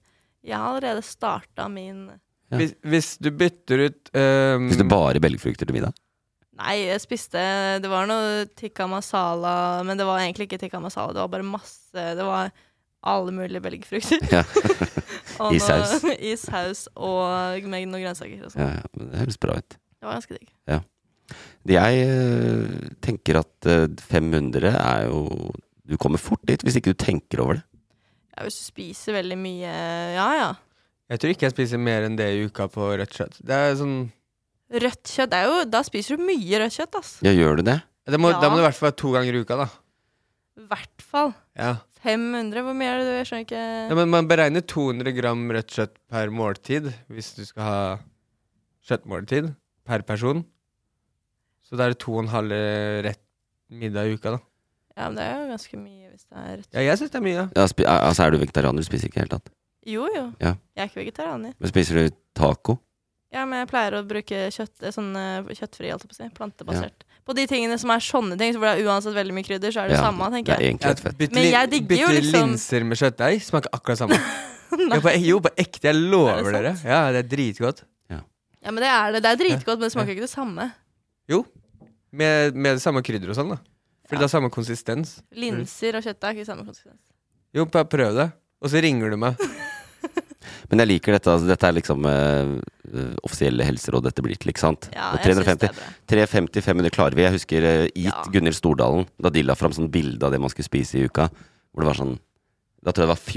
[SPEAKER 3] jeg har allerede starta min
[SPEAKER 1] Ja.
[SPEAKER 2] Hvis, hvis du bytter ut ehm,
[SPEAKER 1] Hvis du
[SPEAKER 3] Mm.
[SPEAKER 1] bare belgfrukter til middag?
[SPEAKER 3] Nei, jeg spiste Det var noe tikka masala, men det var egentlig ikke tikka masala. Det var bare masse Det var alle mulige belgfrukter.
[SPEAKER 1] Ja.
[SPEAKER 3] Og
[SPEAKER 1] I
[SPEAKER 3] noe-
[SPEAKER 1] saus.
[SPEAKER 3] I saus og med noen grønnsaker. Og sånn.
[SPEAKER 1] Ja, ja, men det høres bra ut.
[SPEAKER 3] Det var ganske digg.
[SPEAKER 1] Jeg eh, tenker at eh, 500 er jo Du kommer fort dit hvis ikke du tenker over det.
[SPEAKER 3] Ja, hvis du spiser veldig mye Ja, ja.
[SPEAKER 2] Jeg tror ikke jeg spiser mer enn det i uka på rødt kjøtt. Det er sånn
[SPEAKER 3] Rødt kjøtt det er jo Da spiser du mye rødt kjøtt, ass.
[SPEAKER 1] Ja, gjør du det?
[SPEAKER 2] det må,
[SPEAKER 3] Ja.
[SPEAKER 2] Da må det i hvert fall være to ganger i uka, da.
[SPEAKER 3] I hvert fall.
[SPEAKER 2] Ja.
[SPEAKER 3] 500. Hvor mye er det du Jeg skjønner ikke
[SPEAKER 2] ja, Men man beregner 200 gram rødt kjøtt per måltid hvis du skal ha kjøttmåltid per person. Så da er det to og en halv rett middag i uka, da.
[SPEAKER 3] Ja, men det er jo ganske mye hvis det er rødt
[SPEAKER 2] Ja, jeg syns det er mye.
[SPEAKER 1] Ja, spi, eh, altså, er du vegetarianer? Du spiser ikke i det hele tatt.
[SPEAKER 3] Jo, jo.
[SPEAKER 1] Ja.
[SPEAKER 3] Jeg er ikke vegetarianer.
[SPEAKER 1] Men spiser du taco?
[SPEAKER 3] Ja, men jeg pleier å bruke kjøtt, eh, sånn eh, kjøttfri, holdt jeg på å si. Plantebasert. På de tingene som er sånne ting, så blir det uansett veldig mye krydder, så er det
[SPEAKER 1] Ja,
[SPEAKER 3] samme,
[SPEAKER 1] Det
[SPEAKER 3] tenker
[SPEAKER 1] er
[SPEAKER 3] jeg.
[SPEAKER 1] egentlig helt fett.
[SPEAKER 2] Bitte,
[SPEAKER 3] Men
[SPEAKER 2] li-
[SPEAKER 3] jeg digger jo
[SPEAKER 2] bitte
[SPEAKER 3] liksom-
[SPEAKER 2] linser med kjøttdeig smaker akkurat samme. Ja, på, jo, på ekte. Jeg lover
[SPEAKER 3] Er
[SPEAKER 2] dere.
[SPEAKER 3] det sant?
[SPEAKER 2] Ja, det er dritgodt.
[SPEAKER 3] Ja, men det er det. Det er dritgodt, men det smaker ikke det samme.
[SPEAKER 2] Med, med det samme krydder og sånn, da. Fordi det har samme konsistens.
[SPEAKER 3] Linser og kjøtt er ikke samme konsistens.
[SPEAKER 2] Jo, bare prøv det. Og så ringer du meg.
[SPEAKER 1] Men jeg liker dette. Altså, dette er liksom eh, eh, offisielle helseråd dette blir til, ikke sant?
[SPEAKER 3] Ja,
[SPEAKER 1] Og
[SPEAKER 3] jeg synes det
[SPEAKER 1] 350,
[SPEAKER 3] er bra.
[SPEAKER 1] 350-500 klarer vi. Jeg husker uh, Eat
[SPEAKER 3] Ja.
[SPEAKER 1] Gunhild Stordalen, da de la fram sånn bilde av det man skulle spise i uka. Hvor det var sånn Da tror jeg det var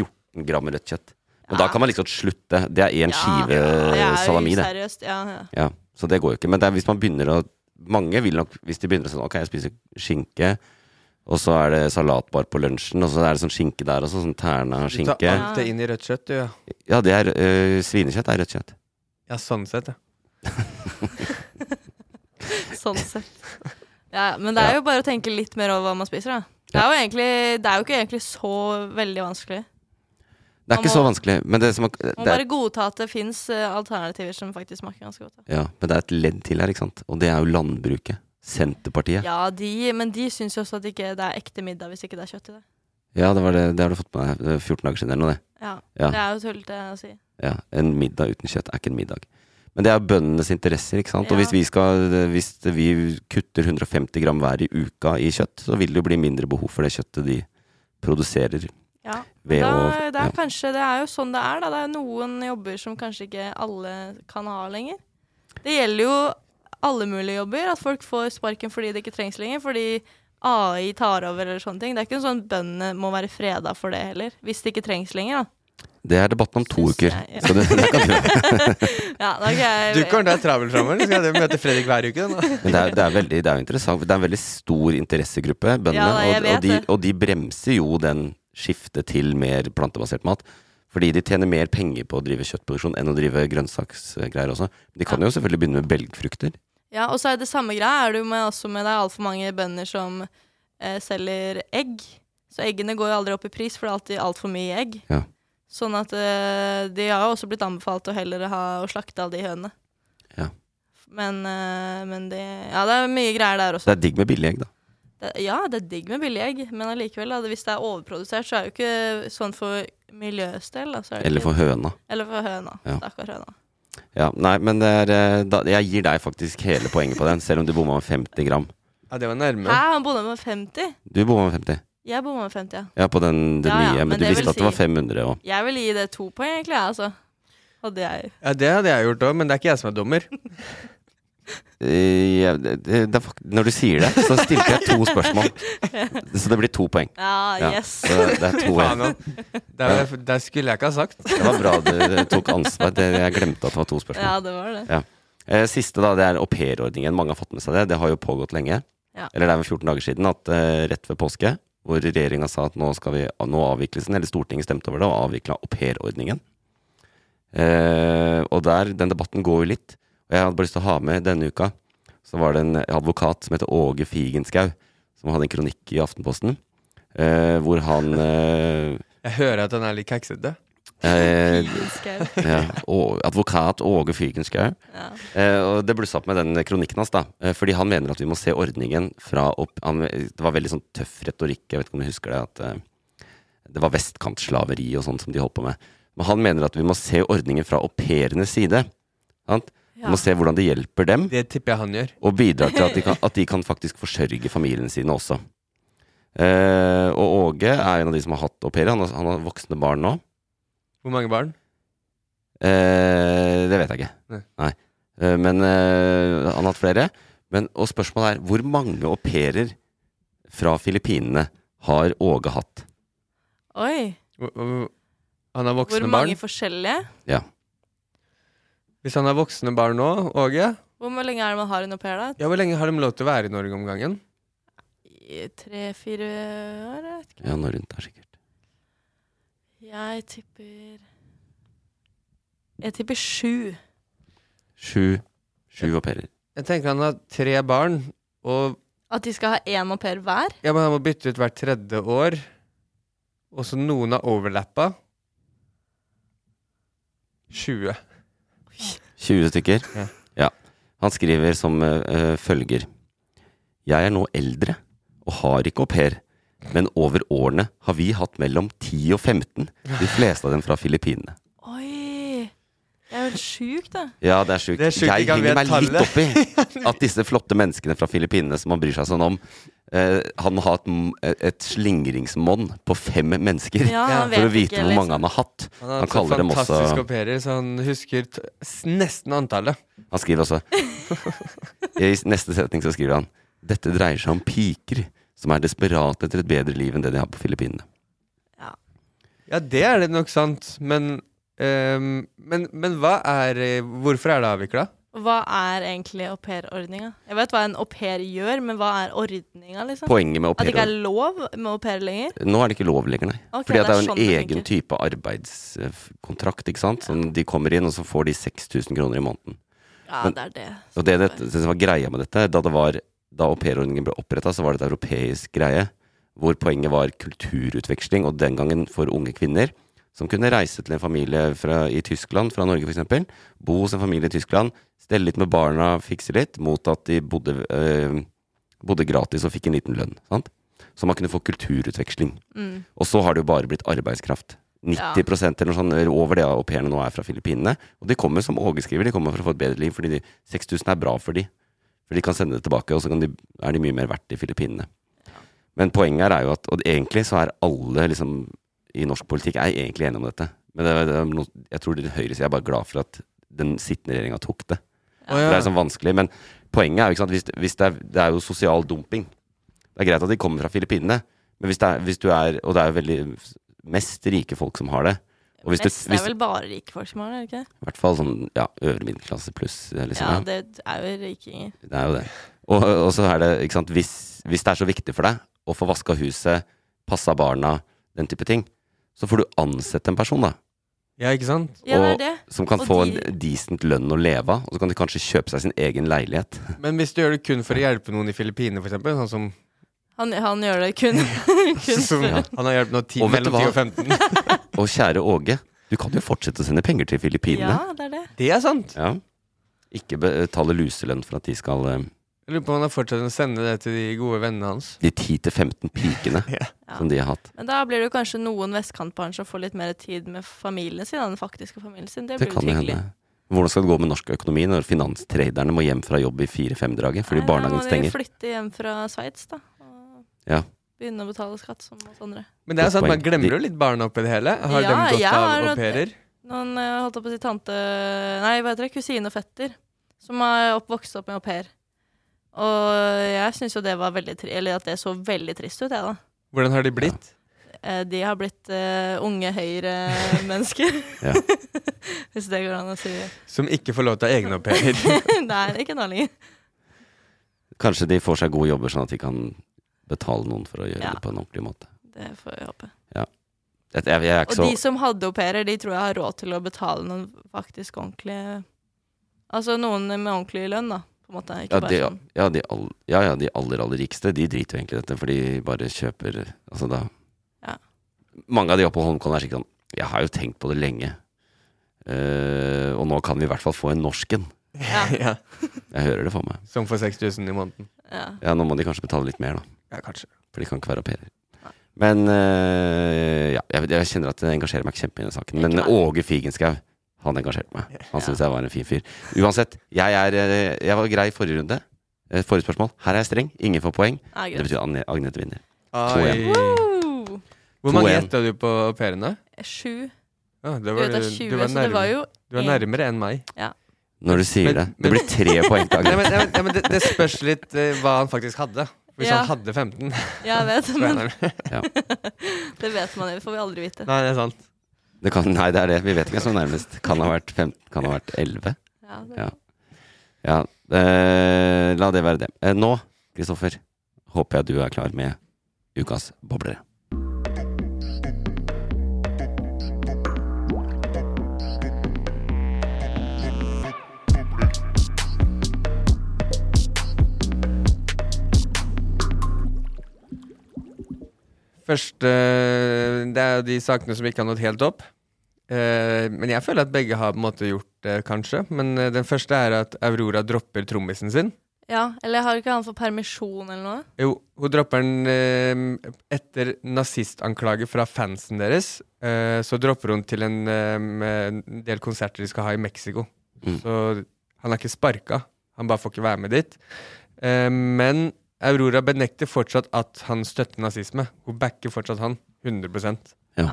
[SPEAKER 1] 14 gram rødt kjøtt. Men da
[SPEAKER 3] Ja.
[SPEAKER 1] kan man liksom slutte. Det er én skive
[SPEAKER 3] ja,
[SPEAKER 1] salami,
[SPEAKER 3] det.
[SPEAKER 1] det.
[SPEAKER 3] er jo Useriøst. Ja, ja.
[SPEAKER 1] Ja, så det går jo ikke. Men det er hvis man begynner å Mange vil nok, hvis de begynner sånn Ok, jeg spiser skinke, og så er det salatbar på lunsjen, og så er det sånn skinke der også, sånn terna
[SPEAKER 2] Du tar
[SPEAKER 1] skinke.
[SPEAKER 2] alt det inn i rødt kjøtt, du, ja.
[SPEAKER 1] Ja, det er øh, Svinekjøtt er rødt kjøtt.
[SPEAKER 2] Ja, sånn sett, ja.
[SPEAKER 3] Sånn sett. Ja, men det er jo bare å tenke litt mer over hva man spiser, da. Det er jo, egentlig, det er jo ikke egentlig så veldig vanskelig.
[SPEAKER 1] Det er
[SPEAKER 3] Man
[SPEAKER 1] ikke
[SPEAKER 3] må-
[SPEAKER 1] så vanskelig, men det, er som, det
[SPEAKER 3] Man må
[SPEAKER 1] er,
[SPEAKER 3] bare godta at det fins alternativer som faktisk smaker ganske godt. Da.
[SPEAKER 1] ja, men det er et ledd til her, ikke sant? Og det er jo landbruket. Senterpartiet. Ja,
[SPEAKER 3] Ja, de, men de syns jo også at ikke det er ekte middag hvis ikke det er kjøtt i det.
[SPEAKER 1] det, var det, det har du fått med deg øh, 14 dager siden eller noe, det.
[SPEAKER 3] Ja,
[SPEAKER 1] Ja.
[SPEAKER 3] Det er jo tullete å si.
[SPEAKER 1] Ja, en middag uten kjøtt er ikke en middag. Men det er bøndenes interesser, ikke sant. Og
[SPEAKER 3] Ja.
[SPEAKER 1] hvis vi, skal, hvis vi kutter 150 gram hver i uka i kjøtt, så vil det jo bli mindre behov for det kjøttet de produserer.
[SPEAKER 3] Ja.
[SPEAKER 1] Ved
[SPEAKER 3] da,
[SPEAKER 1] å-
[SPEAKER 3] det, er
[SPEAKER 1] ja.
[SPEAKER 3] kanskje, det er jo sånn det er, da. Det er noen jobber som kanskje ikke alle kan ha lenger. Det gjelder jo alle mulige jobber. At folk får sparken fordi det ikke trengs lenger. Fordi AI tar over eller sånne ting. Det er ikke sånn bøndene må være freda for det heller. Hvis det ikke trengs lenger, da.
[SPEAKER 1] Det er debatten om to
[SPEAKER 3] Synes
[SPEAKER 1] uker.
[SPEAKER 3] jeg, ja.
[SPEAKER 1] Så det, det kan du.
[SPEAKER 3] Ja, da kan
[SPEAKER 2] Du
[SPEAKER 3] jeg
[SPEAKER 2] kommer til å ha travelt framover. Skal jeg møte Fredrik hver uke? Da.
[SPEAKER 1] Men det er, det, er veldig, det er jo interessant. for Det er en veldig stor interessegruppe, bøndene.
[SPEAKER 3] Ja, jeg
[SPEAKER 1] og, og,
[SPEAKER 3] vet
[SPEAKER 1] de,
[SPEAKER 3] det.
[SPEAKER 1] og de bremser jo den skiftet til mer plantebasert mat. Fordi de tjener mer penger på å drive kjøttproduksjon enn å drive grønnsaksgreier også. De kan jo selvfølgelig begynne med belgfrukter.
[SPEAKER 3] Ja, og så er det samme greia er det jo med, også med det er altfor mange bønder som eh, selger egg. Så eggene går jo aldri opp i pris, for det er alltid altfor mye egg.
[SPEAKER 1] Ja.
[SPEAKER 3] Sånn at eh, de har jo også blitt anbefalt å heller ha å slakte av de hønene.
[SPEAKER 1] Ja.
[SPEAKER 3] Men, eh, men det Ja, det er mye greier der også.
[SPEAKER 1] Det er digg med billige egg, da.
[SPEAKER 3] Det, ja, det er digg med billige egg, men allikevel, da, det- hvis det er overprodusert, så er det jo ikke sånn for miljøets del. Da, så er det
[SPEAKER 1] Eller
[SPEAKER 3] ikke-
[SPEAKER 1] for høna.
[SPEAKER 3] Eller for høna.
[SPEAKER 1] Ja.
[SPEAKER 3] Stakkars høna.
[SPEAKER 1] Ja, nei, men det er, eh, da, jeg gir deg faktisk hele poenget på den, selv om du bomma med 50 gram.
[SPEAKER 2] Ja, det var nærme.
[SPEAKER 3] Hæ, han bodde med 50?
[SPEAKER 1] Du bomma med 50.
[SPEAKER 3] Jeg bomma med 50, ja.
[SPEAKER 1] Ja, på den, den
[SPEAKER 3] Ja, ja,
[SPEAKER 1] nye, men,
[SPEAKER 3] men
[SPEAKER 1] du
[SPEAKER 3] det
[SPEAKER 1] visste
[SPEAKER 3] vil
[SPEAKER 1] at det var
[SPEAKER 3] si-
[SPEAKER 1] 500 og
[SPEAKER 3] Jeg vil gi det to poeng, egentlig, jeg, altså. Hadde jeg
[SPEAKER 2] Ja, Det hadde jeg gjort òg, men det er ikke jeg som er dommer.
[SPEAKER 1] Eh, ja, det, det, det er fakt- Når du sier det, så stilte jeg to spørsmål. Så det blir to poeng.
[SPEAKER 3] Ja,
[SPEAKER 1] Ja,
[SPEAKER 3] yes.
[SPEAKER 1] så det er to
[SPEAKER 2] Faen,
[SPEAKER 1] igjen.
[SPEAKER 2] nå. Det, er, det skulle jeg ikke ha sagt.
[SPEAKER 1] Det var bra du tok ansvar. Det, jeg glemte at det var to spørsmål.
[SPEAKER 3] Ja, det var det.
[SPEAKER 1] Eh, Siste da, det er aupairordningen. Mange har fått med seg det. Det har jo pågått lenge.
[SPEAKER 3] Ja.
[SPEAKER 1] Eller det er vel 14 dager siden, at eh, rett ved påske, hvor regjeringa sa at nå, skal vi, nå avvikles den, eller Stortinget stemte over det, og avvikla aupairordningen. Eh, og der, den debatten går jo litt. Og jeg hadde bare lyst til å ha med denne uka, så var det en advokat som heter Åge Figenschou, som hadde en kronikk i Aftenposten, eh, hvor han eh,
[SPEAKER 2] Jeg hører at han er litt keksete.
[SPEAKER 1] eh,
[SPEAKER 3] Skau.
[SPEAKER 1] ja, og, Advokat Åge Figenschou.
[SPEAKER 3] Ja.
[SPEAKER 1] Eh, og det blussa opp med den kronikken hans, da. Eh, fordi han mener at vi må se ordningen fra opp han, Det var veldig sånn tøff retorikk, jeg vet ikke om du husker det, at eh, det var vestkantslaveri og sånn som de holdt på med. Men han mener at vi må se ordningen fra au pairenes side. Sant? Vi
[SPEAKER 3] Ja.
[SPEAKER 1] må se hvordan det hjelper dem,
[SPEAKER 2] Det tipper jeg han gjør.
[SPEAKER 1] og bidrar til at de kan, at de kan faktisk forsørge familiene sine også. Eh, og Åge er en av de som har hatt au pair. Han, har- han har voksne barn nå.
[SPEAKER 2] Hvor mange barn?
[SPEAKER 1] Eh, det vet jeg ikke. Nei.
[SPEAKER 2] Nei.
[SPEAKER 1] Eh, men eh, han har hatt flere. Men, og spørsmålet er hvor mange au pairer fra Filippinene har Åge hatt?
[SPEAKER 3] Oi.
[SPEAKER 2] Hvor- hvor- Han har
[SPEAKER 3] Hvor
[SPEAKER 2] voksne barn.
[SPEAKER 3] mange forskjellige?
[SPEAKER 2] Hvis han har voksne barn nå, Åge
[SPEAKER 3] Hvor lenge er det man har en au pair, da?
[SPEAKER 2] Ja, Hvor lenge har de lov til å være i Norge om gangen?
[SPEAKER 3] I Tre-fire år? Jeg vet ikke.
[SPEAKER 1] Ja, nå rundt der, sikkert.
[SPEAKER 3] Jeg tipper Jeg tipper sju.
[SPEAKER 1] Sju. Sju au pairer.
[SPEAKER 2] Jeg tenker han har tre barn, og
[SPEAKER 3] At de skal ha én au pair hver?
[SPEAKER 2] ja, men han må bytte ut hvert tredje år. Og så noen har overlappa. 20.
[SPEAKER 1] 20 stykker.
[SPEAKER 2] Ja.
[SPEAKER 1] Ja. Han skriver som eh, eh, følger. Jeg er nå eldre og har ikke au pair, men over årene har vi hatt mellom 10 og 15, de fleste av dem fra Filippinene.
[SPEAKER 3] Oi! Det er jo helt sjukt, da.
[SPEAKER 1] Ja, det er sjukt.
[SPEAKER 2] Det er sjukt
[SPEAKER 1] jeg
[SPEAKER 2] ikke han
[SPEAKER 1] henger
[SPEAKER 2] vet
[SPEAKER 1] meg litt oppi at disse flotte menneskene fra Filippinene som han bryr seg sånn om, eh, han må ha et, m- et slingringsmonn på fem mennesker
[SPEAKER 3] Ja, han vet
[SPEAKER 1] for å vite
[SPEAKER 3] ikke,
[SPEAKER 1] hvor mange
[SPEAKER 3] liksom.
[SPEAKER 1] han har hatt.
[SPEAKER 2] Han har
[SPEAKER 1] Han
[SPEAKER 2] hatt så
[SPEAKER 1] kaller dem også-
[SPEAKER 2] fantastisk au pairer, så han husker t s- nesten antallet.
[SPEAKER 1] Han skriver også I s- neste setning så skriver han Dette dreier seg om piker som er desperate etter et bedre liv enn det de har på Filippinene.
[SPEAKER 2] Ja, det er det nok sant, men ehm, men, men hva er eh, Hvorfor er det avvikla?
[SPEAKER 3] Hva er egentlig aupairordninga? Jeg vet hva en au pair gjør, men hva er ordninga, liksom?
[SPEAKER 1] Poenget med au
[SPEAKER 3] At det ikke er
[SPEAKER 1] pair
[SPEAKER 3] lov med au pair lenger?
[SPEAKER 1] Nå er det ikke lov lenger, nei.
[SPEAKER 3] Ok,
[SPEAKER 1] Fordi at det er jo en
[SPEAKER 3] sånn det
[SPEAKER 1] egen
[SPEAKER 3] funker.
[SPEAKER 1] type arbeidskontrakt, ikke sant. Sånn, de kommer inn, og så får de 6000 kroner i måneden.
[SPEAKER 3] Ja,
[SPEAKER 1] Men-
[SPEAKER 3] det er det.
[SPEAKER 1] Og det, det, det som var greia med dette, da, det var, da aupairordningen ble oppretta, så var det et europeisk greie, hvor poenget var kulturutveksling, og den gangen for unge kvinner, som kunne reise til en familie fra, i Tyskland, fra Norge f.eks., bo hos en familie i Tyskland, stelle litt med barna, fikse litt, mot at de bodde, eh, bodde gratis og fikk en liten lønn. Sant? Så man kunne få kulturutveksling.
[SPEAKER 3] Mm.
[SPEAKER 1] Og så har det jo bare blitt arbeidskraft. 90
[SPEAKER 3] Ja.
[SPEAKER 1] eller noe sånt eller over det au pairene nå er fra Filippinene. Og de kommer som Åge skriver, de kommer for å få et bedre liv, fordi de- 6000 er bra for de. For de kan sende det tilbake, og så kan de, er de mye mer verdt i Filippinene. Men poenget her er jo at og egentlig så er alle liksom, i norsk politikk er egentlig enige om dette. Men det, er- det, er noe- jeg tror det høyresida er bare glad for at den sittende regjeringa tok det. For det er sånn vanskelig. Men poenget er jo ikke sant, hvis, hvis det, er, det er jo sosial dumping. Det er greit at de kommer fra Filippinene, men hvis, det er, hvis du er Og det er jo veldig mest rike folk som har det. Og hvis du,
[SPEAKER 3] Mest er
[SPEAKER 1] hvis,
[SPEAKER 3] vel bare rike folk som har det, er det ikke? det?
[SPEAKER 1] I hvert fall sånn ja, øvre middelklasse pluss. eh, Liksom,
[SPEAKER 3] Ja,
[SPEAKER 1] ja, det,
[SPEAKER 3] det er jo rikinger.
[SPEAKER 1] er jo det. Og, og så er det, ikke sant, hvis, hvis det er så viktig for deg å få vaska huset, passa barna, den type ting, så får du ansette en person, da.
[SPEAKER 2] Ja, ikke sant?
[SPEAKER 3] Ja, det
[SPEAKER 1] Og-
[SPEAKER 3] er det.
[SPEAKER 1] Som kan
[SPEAKER 3] Og
[SPEAKER 1] få
[SPEAKER 3] de-
[SPEAKER 1] en decent lønn å leve av, og så kan de kanskje kjøpe seg sin egen leilighet.
[SPEAKER 2] Men hvis du gjør det kun for å hjelpe noen i Filippinene, f.eks., sånn som
[SPEAKER 3] Han, han gjør det kun, kun
[SPEAKER 2] som
[SPEAKER 3] for-
[SPEAKER 1] Ja.
[SPEAKER 2] Han har hjulpet nå ti,
[SPEAKER 1] Og vet du
[SPEAKER 2] mellom 10
[SPEAKER 1] hva?
[SPEAKER 2] og 15.
[SPEAKER 1] Og kjære Åge, du kan jo fortsette å sende penger til Filippinene.
[SPEAKER 3] Ja, det er det.
[SPEAKER 2] Det er sant!
[SPEAKER 1] Ja. Ikke betale luselønn for at de skal eh,
[SPEAKER 2] Jeg lurer på om han har fortsatt å sende det til de gode vennene hans.
[SPEAKER 1] De 10-15 pikene som de har hatt.
[SPEAKER 3] Men da blir det jo kanskje noen vestkantbarn som får litt mer tid med familien sin, da, den faktiske familien sin. Det
[SPEAKER 1] Det
[SPEAKER 3] blir jo
[SPEAKER 1] kan jo
[SPEAKER 3] hyggelig.
[SPEAKER 1] hende. Hvordan skal det gå med norsk økonomi når finanstraderne må hjem fra jobb i fire-fem-draget fordi
[SPEAKER 3] Nei,
[SPEAKER 1] barnehagen
[SPEAKER 3] Da må de
[SPEAKER 1] stenger?
[SPEAKER 3] flytte hjem fra Sveits, da. Og
[SPEAKER 1] Ja.
[SPEAKER 3] begynne å betale skatt som oss andre.
[SPEAKER 2] Men det er
[SPEAKER 1] Godt
[SPEAKER 2] sånn at
[SPEAKER 1] poeng.
[SPEAKER 2] man glemmer
[SPEAKER 1] De-
[SPEAKER 2] jo litt barna oppi det hele. Har
[SPEAKER 3] Ja,
[SPEAKER 2] dem gått
[SPEAKER 3] jeg har
[SPEAKER 2] av au
[SPEAKER 3] hatt-
[SPEAKER 2] pairer?
[SPEAKER 3] Noen eh, holdt opp å si tante Nei, hva heter det? Kusine og fetter. Som har opp- vokst opp med au pair. Og jeg syns jo det var veldig tri Eller at det så veldig trist ut, jeg, da.
[SPEAKER 2] Hvordan har de blitt?
[SPEAKER 3] Eh, De har blitt eh, unge Høyre-mennesker,
[SPEAKER 1] Ja.
[SPEAKER 3] hvis det går an å si.
[SPEAKER 2] Som ikke får lov til å ha egne au pairer.
[SPEAKER 3] Nei, ikke nå lenger.
[SPEAKER 1] Kanskje de får seg gode jobber, sånn at de kan betale noen for å gjøre
[SPEAKER 3] Ja.
[SPEAKER 1] det på en ordentlig måte.
[SPEAKER 3] Det får vi håpe.
[SPEAKER 1] Jeg, jeg, jeg er
[SPEAKER 3] Og
[SPEAKER 1] ikke så
[SPEAKER 3] de som hadde au pairer, de tror jeg har råd til å betale noen faktisk ordentlig Altså noen med ordentlig lønn, da. På en måte. Ikke
[SPEAKER 1] ja,
[SPEAKER 3] bare
[SPEAKER 1] de,
[SPEAKER 3] sånn.
[SPEAKER 1] ja, de all, ja, ja, de aller, aller rikeste, de driter jo egentlig i dette, for de bare kjøper Altså, da
[SPEAKER 3] Ja.
[SPEAKER 1] Mange av de oppe på Holmenkollen er sikkert sånn Jeg har jo tenkt på det lenge, Eh, og nå kan vi i hvert fall få en norsken.
[SPEAKER 3] Ja.
[SPEAKER 2] ja.
[SPEAKER 1] Jeg hører det for meg.
[SPEAKER 2] Som for 6000 i måneden.
[SPEAKER 3] Ja.
[SPEAKER 1] Ja, nå må de kanskje betale litt mer, da.
[SPEAKER 2] Ja, kanskje.
[SPEAKER 1] For de kan ikke være au pairer. Men eh, ja, jeg, jeg kjenner at jeg engasjerer meg ikke kjempe i den saken. Men
[SPEAKER 3] Ikke meg.
[SPEAKER 1] Åge Figenschou, han engasjerte meg. Han syntes jeg var en fin fyr. Uansett, jeg, er, eh, jeg var grei i forrige runde. Eh, Forrige spørsmål. Her er jeg streng. Ingen får poeng.
[SPEAKER 3] Nei,
[SPEAKER 1] Det
[SPEAKER 3] greit.
[SPEAKER 1] betyr Agne- Agnete vinner.
[SPEAKER 2] Oi.
[SPEAKER 3] Woo!
[SPEAKER 2] Hvor
[SPEAKER 1] 2-1.
[SPEAKER 2] mange gjetta du på au pairene?
[SPEAKER 3] Sju.
[SPEAKER 2] Ja, det
[SPEAKER 3] Du
[SPEAKER 2] var,
[SPEAKER 3] vet det er 20,
[SPEAKER 2] du, var
[SPEAKER 3] så det var
[SPEAKER 2] nærmere,
[SPEAKER 3] jo
[SPEAKER 2] du var
[SPEAKER 3] en-
[SPEAKER 2] nærmere enn meg.
[SPEAKER 1] Når du sier
[SPEAKER 2] Men-
[SPEAKER 1] det.
[SPEAKER 2] men-
[SPEAKER 1] Det blir tre poeng til
[SPEAKER 2] Nei, men,
[SPEAKER 1] Agnete.
[SPEAKER 2] nei, men- nei, men det, det spørs litt eh, hva han faktisk hadde. Hvis
[SPEAKER 3] Ja.
[SPEAKER 2] han hadde 15,
[SPEAKER 3] Ja, jeg vet,
[SPEAKER 2] så er
[SPEAKER 3] men
[SPEAKER 2] han nærmere.
[SPEAKER 3] det vet man jo. Det får vi aldri vite.
[SPEAKER 2] Nei, det er sant.
[SPEAKER 1] Det kan, nei, det er det. Vi vet ikke hvem som er nærmest. Kan ha vært 15, kan ha vært 11.
[SPEAKER 3] Ja, det,
[SPEAKER 1] Ja. Ja, eh, la det være det. Eh, nå, Kristoffer, håper jeg du er klar med ukas boblere.
[SPEAKER 2] Første Det er jo de sakene som ikke har nådd helt opp. Eh, men jeg føler at begge har på en måte gjort det, kanskje. Men eh, den første er at Aurora dropper trommisen sin.
[SPEAKER 3] ja, eller har ikke han fått permisjon eller noe?
[SPEAKER 2] Jo, hun dropper den eh, etter nazistanklage fra fansen deres. eh, så dropper hun til en eh, del konserter de skal ha i Mexico.
[SPEAKER 1] Mm.
[SPEAKER 2] Så han er ikke sparka. Han bare får ikke være med dit. Eh, men Aurora benekter fortsatt at han støtter nazisme. Hun backer fortsatt han. 100
[SPEAKER 1] Ja.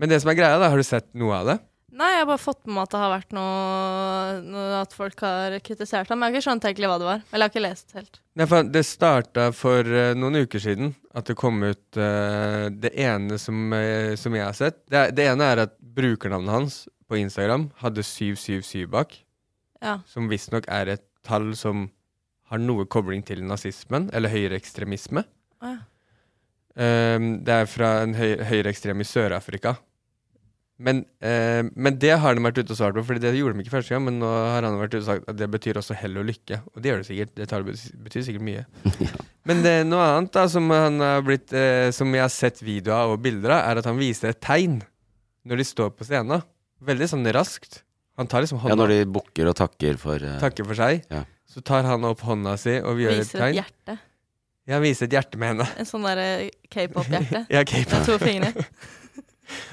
[SPEAKER 2] Men det som er greia, da, har du sett noe av det?
[SPEAKER 3] Nei, jeg har bare fått med meg at det har vært noe, noe At folk har kritisert ham. Jeg har ikke skjønt egentlig hva det var. Eller jeg har ikke lest helt.
[SPEAKER 2] Nei, for Det starta for eh, noen uker siden at det kom ut eh, det ene som, eh, som jeg har sett. Det, er- det ene er at brukernavnet hans på Instagram hadde 777 bak,
[SPEAKER 3] Ja.
[SPEAKER 2] som visstnok er et tall som har noe kobling til nazismen, eller høyreekstremisme.
[SPEAKER 3] Å ja.
[SPEAKER 2] Ehm, det er fra en høy, høyreekstrem i Sør-Afrika. Men, eh, men det har de vært ute og svart på, Fordi det gjorde de ikke første gang. Men nå har han vært ute og sagt at det betyr også hell og lykke. Og det gjør det sikkert. Det tallet bety- betyr sikkert mye. Men det, er noe annet da som, han har blitt, eh, som jeg har sett videoer av og bilder av, er at han viser et tegn når de står på scenen. Veldig sånn raskt. Han tar liksom
[SPEAKER 1] Ja,
[SPEAKER 2] hånda
[SPEAKER 1] når de bukker og takker for eh,
[SPEAKER 2] takker for seg.
[SPEAKER 1] Ja.
[SPEAKER 2] Så tar han opp hånda si og vi gjør et
[SPEAKER 3] Viser et
[SPEAKER 2] tegn.
[SPEAKER 3] hjerte.
[SPEAKER 2] Ja, han viser et hjerte med henda.
[SPEAKER 3] En sånn derre k-pop-hjerte.
[SPEAKER 2] Ja, okay,
[SPEAKER 3] Med to fingre.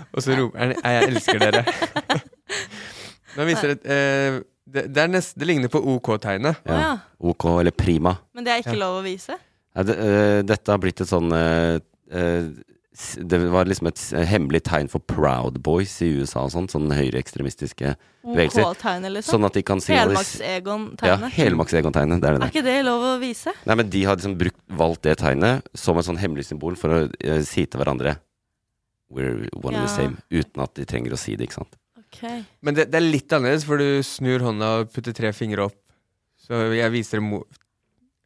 [SPEAKER 2] Og så roper han «Nei, 'Jeg elsker dere'. Nå viser det, eh, det, det, er nest, det ligner på OK-tegnet.
[SPEAKER 3] Å ja.
[SPEAKER 1] OK eller Prima.
[SPEAKER 3] Men det er ikke
[SPEAKER 2] Ja.
[SPEAKER 3] lov å vise?
[SPEAKER 1] Nei, det, eh, dette har blitt et sånn eh, eh, s- Det var liksom et s- hemmelig tegn for Proud Boys i USA og sånn. Sånn høyreekstremistiske bevegelser.
[SPEAKER 3] OK-tegnet, liksom?
[SPEAKER 1] Sånn at de kan signalis- Ja,
[SPEAKER 3] Helmaks-Egon-tegnet?
[SPEAKER 1] Helmaks-Egon-tegnet. Det er det der.
[SPEAKER 3] er ikke det lov å vise?
[SPEAKER 1] Nei, men de har liksom brukt, valgt det tegnet som et sånn hemmelig symbol for å eh, si til hverandre We're one and
[SPEAKER 3] Ja.
[SPEAKER 1] the same. Uten at de trenger å si det, ikke sant.
[SPEAKER 3] Ok.
[SPEAKER 2] Men det, det er litt annerledes, for du snur hånda og putter tre fingre opp. Så jeg viser mo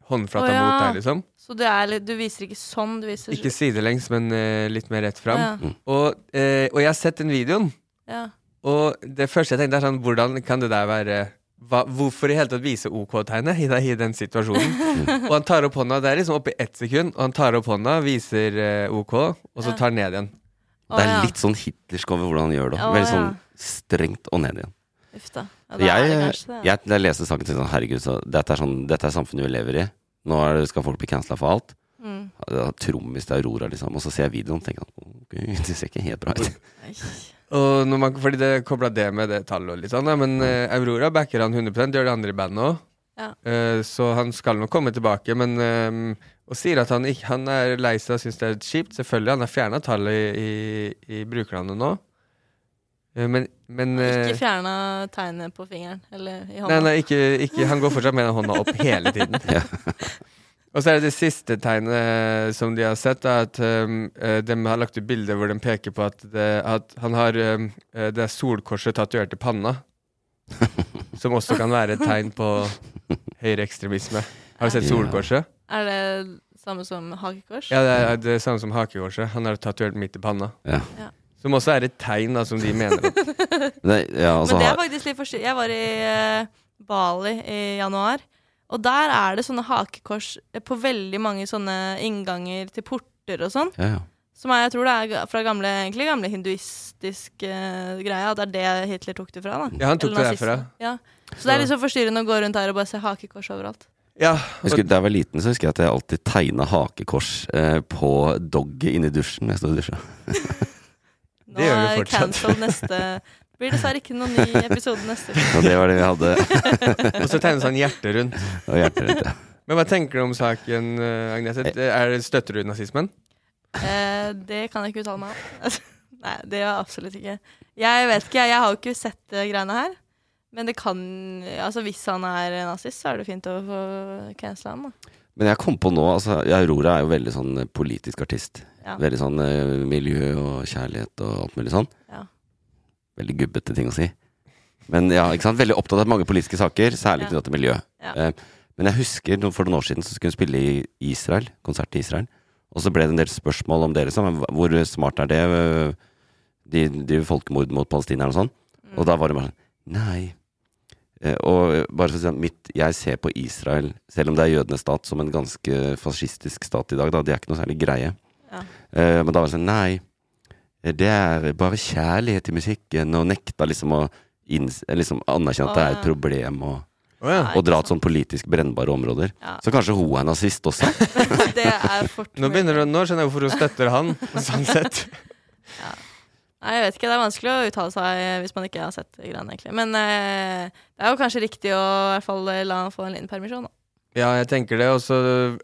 [SPEAKER 2] håndflata
[SPEAKER 3] Å, ja.
[SPEAKER 2] mot deg, liksom.
[SPEAKER 3] Så du, er, litt- du viser ikke sånn? Du viser
[SPEAKER 2] Ikke sidelengs, men eh, litt mer rett fram.
[SPEAKER 3] Ja.
[SPEAKER 1] Mm.
[SPEAKER 2] Og, eh, og jeg har sett den videoen,
[SPEAKER 3] ja.
[SPEAKER 2] og det første jeg tenkte, er sånn Hvordan kan det der være hva, Hvorfor i hele tatt vise OK-tegnet i, i den situasjonen?
[SPEAKER 1] Mm.
[SPEAKER 2] Og han tar opp hånda, det er liksom oppe i ett sekund, og han tar opp hånda, viser eh, OK, og så
[SPEAKER 3] Ja.
[SPEAKER 2] tar han ned igjen.
[SPEAKER 3] Å,
[SPEAKER 1] det er
[SPEAKER 3] ja.
[SPEAKER 1] litt sånn hitlersk over hvordan han gjør det.
[SPEAKER 3] Å,
[SPEAKER 1] Veldig
[SPEAKER 3] ja.
[SPEAKER 1] sånn strengt og ned igjen.
[SPEAKER 3] Uff da. Ja, da er det
[SPEAKER 1] Jeg,
[SPEAKER 3] kanskje det.
[SPEAKER 1] jeg, jeg leste saken og tenkte sånn, herregud, så dette, er sånn, dette er samfunnet vi lever i. Nå er det, skal folk bli cancela for alt.
[SPEAKER 3] Mm.
[SPEAKER 1] Ja, Trommis til Aurora, liksom. Og så ser jeg videoen og tenker at ok, det ser ikke helt bra ut.
[SPEAKER 3] Nei.
[SPEAKER 2] Og når man, fordi det kobla det med det tallet og litt sånn, da, men eh, Aurora backer han 100 det gjør de andre i bandet òg.
[SPEAKER 3] Ja.
[SPEAKER 2] så han skal nok komme tilbake, men eh, Og sier at han, ikke, han er lei seg og syns det er kjipt. Selvfølgelig, han har fjerna tallet i, i, i brukernavnet nå. Eh, men men eh,
[SPEAKER 3] Ikke fjerna tegnet på fingeren eller i
[SPEAKER 2] Nei,
[SPEAKER 3] hånda.
[SPEAKER 2] nei, ikke, ikke Han går fortsatt med den hånda opp hele tiden.
[SPEAKER 1] Ja.
[SPEAKER 2] Og så er det det siste tegnet eh, som de har sett, er at um, eh, de har lagt ut bilder hvor de peker på at, det, at han har um, eh, det er solkorset tatovert i panna. Som også kan være et tegn på høyreekstremisme. Har du sett
[SPEAKER 1] Ja.
[SPEAKER 2] solkorset?
[SPEAKER 3] Er det samme som hakekors?
[SPEAKER 2] Ja, det er det er samme som hakekorset. Han har det tatovert midt i panna.
[SPEAKER 1] Ja.
[SPEAKER 3] Ja.
[SPEAKER 2] Som også er et tegn da, som de mener. at-
[SPEAKER 1] Det, ja, altså,
[SPEAKER 3] Men det er
[SPEAKER 1] har-
[SPEAKER 3] faktisk litt forstyrrende. Jeg var i eh, Bali i januar, og der er det sånne hakekors eh, på veldig mange sånne innganger til porter og sånn.
[SPEAKER 1] ja, ja.
[SPEAKER 3] Som er, jeg tror det er ga- fra gamle, egentlig gamle hinduistisk uh, greie, at det er det Hitler tok det fra. da.
[SPEAKER 2] Ja, han tok
[SPEAKER 3] Eller
[SPEAKER 2] det
[SPEAKER 3] nazistene.
[SPEAKER 2] derfra.
[SPEAKER 3] Ja. Så det er litt så forstyrrende å gå rundt her og bare se hakekors overalt.
[SPEAKER 2] Ja,
[SPEAKER 1] Jeg
[SPEAKER 2] og
[SPEAKER 1] husker, da jeg var liten, så husker jeg at jeg alltid tegna hakekors eh, på dogget inni dusjen. når Jeg stod og dusja.
[SPEAKER 3] Nå
[SPEAKER 2] Det gjør vi
[SPEAKER 3] er
[SPEAKER 2] fortsatt.
[SPEAKER 3] cancelled neste Blir dessverre ikke noen ny episode neste uke.
[SPEAKER 1] Og det var det vi hadde.
[SPEAKER 2] og så tegnes han hjertet rundt.
[SPEAKER 1] Og hjerterett, ja.
[SPEAKER 2] Men hva tenker du om saken, eh, Agnese? Er, det- støtter du nazismen?
[SPEAKER 3] Eh, det kan jeg ikke uttale meg om. Altså, Nei, det gjør jeg absolutt ikke. Jeg vet ikke, jeg har jo ikke sett de greiene her. Men det kan Altså, hvis han er nazist, så er det fint å få cancela han, da.
[SPEAKER 1] Men jeg kom på nå altså, Aurora er jo veldig sånn politisk artist.
[SPEAKER 3] Ja.
[SPEAKER 1] Veldig sånn eh, miljø og kjærlighet og alt mulig sånn.
[SPEAKER 3] Ja.
[SPEAKER 1] Veldig gubbete ting å si. Men ja, ikke sant? Veldig opptatt av mange politiske saker, særlig
[SPEAKER 3] Ja.
[SPEAKER 1] knyttet til miljø.
[SPEAKER 3] Ja.
[SPEAKER 1] Eh, men jeg husker no- for noen år siden så skulle hun spille i Israel, konsert i Israel. Og så ble det en del spørsmål om det. Liksom. Men hva- Hvor smart er det? øh, De driver folkemord mot palestinerne og sånn. Og da var det bare sånn Nei. Eh, Og bare for å si at mitt, jeg ser på Israel, selv om det er jødenes stat, som en ganske fascistisk stat i dag. Da. De er ikke noe særlig greie.
[SPEAKER 3] Ja.
[SPEAKER 1] Eh, Men da var det sånn Nei. Eh, Det er bare kjærlighet til musikken, og nekta liksom å inns eh, liksom anerkjenne at det er et problem, og,
[SPEAKER 2] Å ja.
[SPEAKER 3] Nei,
[SPEAKER 1] og dra
[SPEAKER 3] ikke
[SPEAKER 1] til sånn politisk brennbare områder.
[SPEAKER 3] Ja.
[SPEAKER 1] Så kanskje hun er nazist også?
[SPEAKER 3] sant. Det er fort
[SPEAKER 2] Nå, begynner du, nå skjønner jeg hvorfor hun støtter han, sånn sett.
[SPEAKER 3] Nei, jeg vet ikke. Det er vanskelig å uttale seg eh, hvis man ikke har sett de greiene, egentlig. Men eh, det er jo kanskje riktig å i hvert fall eh, la han få en liten permisjon, da.
[SPEAKER 2] Ja, jeg tenker det. Og, så,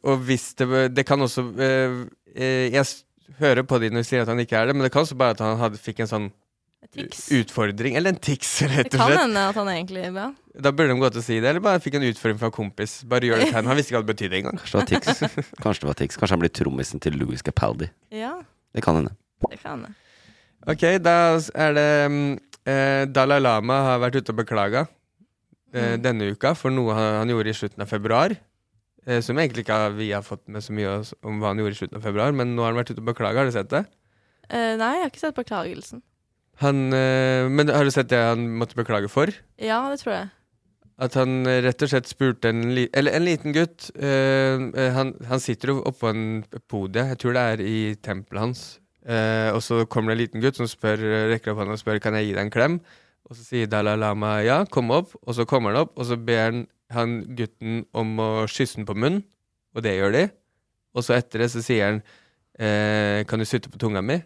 [SPEAKER 2] og hvis det Det kan også eh, eh, Jeg s- hører på de når de sier at han ikke er det, men det kan også være at han hadde, fikk en sånn
[SPEAKER 3] Tics.
[SPEAKER 2] utfordring, eller en tics,
[SPEAKER 3] Det
[SPEAKER 2] rett og
[SPEAKER 3] kan
[SPEAKER 2] slett.
[SPEAKER 3] hende at han egentlig ja.
[SPEAKER 2] Da burde de gå til å si det, eller bare fikk en utfordring fra en kompis. Bare gjør det til henne. Han visste ikke hva det betydde engang.
[SPEAKER 1] Kanskje det var Tix. Kanskje det var Tix. Kanskje han blir trommisen til Louis Capaldi.
[SPEAKER 3] ja,
[SPEAKER 1] Det kan hende.
[SPEAKER 3] det kan hende.
[SPEAKER 2] Ok, da s- er det mm, eh, Dalai Lama har vært ute og beklaga eh,
[SPEAKER 3] Mm.
[SPEAKER 2] denne uka for noe han, han gjorde i slutten av februar. Eh, som egentlig ikke har- vi har fått med så mye oss- om hva han gjorde i slutten av februar, men nå har han vært ute og beklaga. Har du sett det?
[SPEAKER 3] Eh, nei, jeg har ikke sett beklagelsen.
[SPEAKER 2] Han, eh, men har du sett det han måtte beklage for?
[SPEAKER 3] Ja, det tror jeg.
[SPEAKER 2] At han eh, rett og slett spurte en, li eller en liten gutt eh, eh, han, han sitter jo oppå en podie, jeg tror det er i tempelet hans. Eh, og så kommer det en liten gutt som spør, rekker opp hånda og spør kan jeg gi deg en klem. Og så sier Dalai Lama ja, kom opp. Og så kommer han opp, og så ber han, han gutten om å kysse den på munnen. Og det gjør de. Og så etter det så sier han eh, kan du sutte på tunga mi?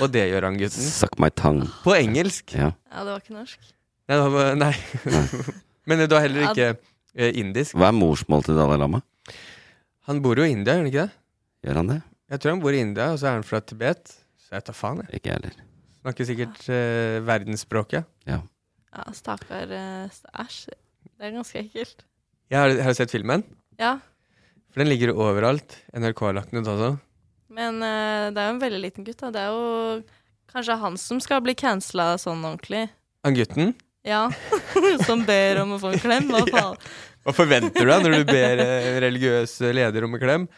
[SPEAKER 2] Og det gjør han
[SPEAKER 3] Mm.
[SPEAKER 2] gutten.
[SPEAKER 1] Suck my tongue.
[SPEAKER 2] På engelsk.
[SPEAKER 1] Ja.
[SPEAKER 3] Ja, det var ikke norsk.
[SPEAKER 2] Nei, det var, nei. Men det var heller ikke eh, indisk.
[SPEAKER 1] Hva er morsmålet til Dalai Lama?
[SPEAKER 2] Han bor jo i India, gjør han ikke det?
[SPEAKER 1] Gjør han det?
[SPEAKER 2] Jeg tror han bor i India, og så er han fra Tibet. Så jeg tar faen, jeg.
[SPEAKER 1] Ikke jeg heller.
[SPEAKER 2] Snakker sikkert eh, verdensspråket.
[SPEAKER 1] Ja.
[SPEAKER 3] Ja, stakkar eh, st- Æsj. Det er ganske ekkelt.
[SPEAKER 2] Jeg har, har du sett filmen,
[SPEAKER 3] Ja,
[SPEAKER 2] for den ligger jo overalt. NRK har lagt den ut også.
[SPEAKER 3] men eh, det er jo en veldig liten gutt, da. Det er jo kanskje han som skal bli cancela sånn ordentlig.
[SPEAKER 2] Han gutten.
[SPEAKER 3] Ja. som ber om å få en klem. Hva faen?
[SPEAKER 2] Hva forventer du da når du ber eh, religiøs leder om en klem?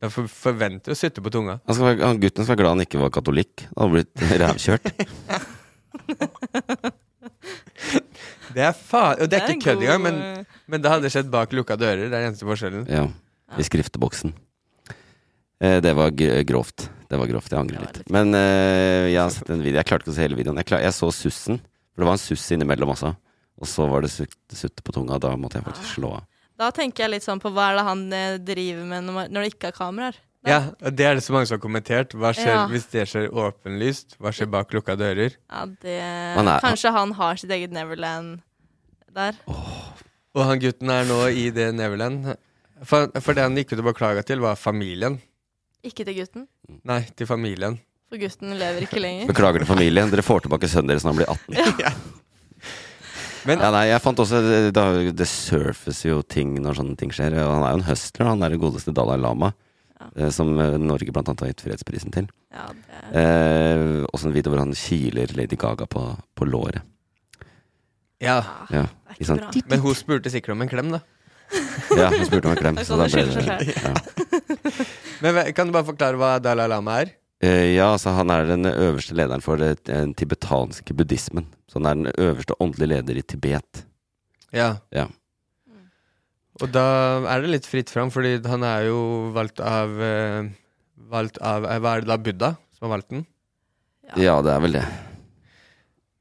[SPEAKER 2] Da for, forventer du å sutte på tunga.
[SPEAKER 1] Han skal være, han, gutten skal være glad han ikke var katolikk. Han hadde blitt rævkjørt.
[SPEAKER 2] Det er faen, og det er
[SPEAKER 3] en
[SPEAKER 2] ikke kødd
[SPEAKER 3] god,
[SPEAKER 2] engang, men,
[SPEAKER 3] eh,
[SPEAKER 2] men det hadde skjedd bak lukka dører. Det er den eneste forskjellen.
[SPEAKER 1] Ja, I skrifteboksen. Eh, det var g- grovt. Det var grovt, Jeg angrer
[SPEAKER 3] Det var
[SPEAKER 1] litt.
[SPEAKER 3] litt
[SPEAKER 1] Men eh, jeg har sett en video. Jeg klarte ikke å se hele videoen. Jeg, klar, jeg så sussen, For det var en suss innimellom også. Og så var det sutt- sutte på tunga. Da måtte jeg faktisk slå av.
[SPEAKER 3] Da tenker jeg litt sånn på hva er det han eh, driver med når man- når det ikke er kameraer.
[SPEAKER 2] Ja, det er det så mange som har kommentert. Hva skjer
[SPEAKER 3] Ja.
[SPEAKER 2] hvis det skjer åpenlyst? Hva skjer bak lukka dører?
[SPEAKER 3] Ja, det
[SPEAKER 1] Man er-
[SPEAKER 3] Kanskje han har sitt eget Neverland der.
[SPEAKER 2] Og han gutten er nå i det Neverland. For, for det han gikk ut og beklaga til, var familien.
[SPEAKER 3] Ikke til gutten,
[SPEAKER 2] Nei, til familien.
[SPEAKER 3] for gutten lever ikke lenger.
[SPEAKER 1] Beklager til familien. Dere får tilbake sønnen deres når han blir 18.
[SPEAKER 2] Men
[SPEAKER 1] Ja, nei, jeg fant også Det, det surfaces jo ting når sånne ting skjer. Og han er jo en høstler. Han er den godeste Dalai Lama. eh, Som eh, Norge blant annet har gitt fredsprisen til.
[SPEAKER 3] Ja, det
[SPEAKER 1] Eh, også en video hvor han kiler Lady Gaga på, på låret.
[SPEAKER 2] ja,
[SPEAKER 1] Ja,
[SPEAKER 3] Ah,
[SPEAKER 1] i
[SPEAKER 3] er ikke
[SPEAKER 1] sånn-
[SPEAKER 3] bra.
[SPEAKER 2] men hun spurte sikkert om en klem, da.
[SPEAKER 1] ja hun spurte om en klem.
[SPEAKER 3] Det er
[SPEAKER 1] Så
[SPEAKER 3] sånn
[SPEAKER 1] da
[SPEAKER 3] det
[SPEAKER 1] ble
[SPEAKER 3] skylder seg
[SPEAKER 1] det ja.
[SPEAKER 2] Men hva- Kan du bare forklare hva Dalai Lama er?
[SPEAKER 1] Eh, ja, så han er den øverste lederen for det- den tibetanske buddhismen. Så han er den øverste åndelige leder i Tibet.
[SPEAKER 2] Ja.
[SPEAKER 1] Ja.
[SPEAKER 2] Og da er det litt fritt fram, fordi han er jo valgt av, eh, valgt av eh, Hva er det da? Buddha som har valgt den?
[SPEAKER 1] Ja, det er vel det.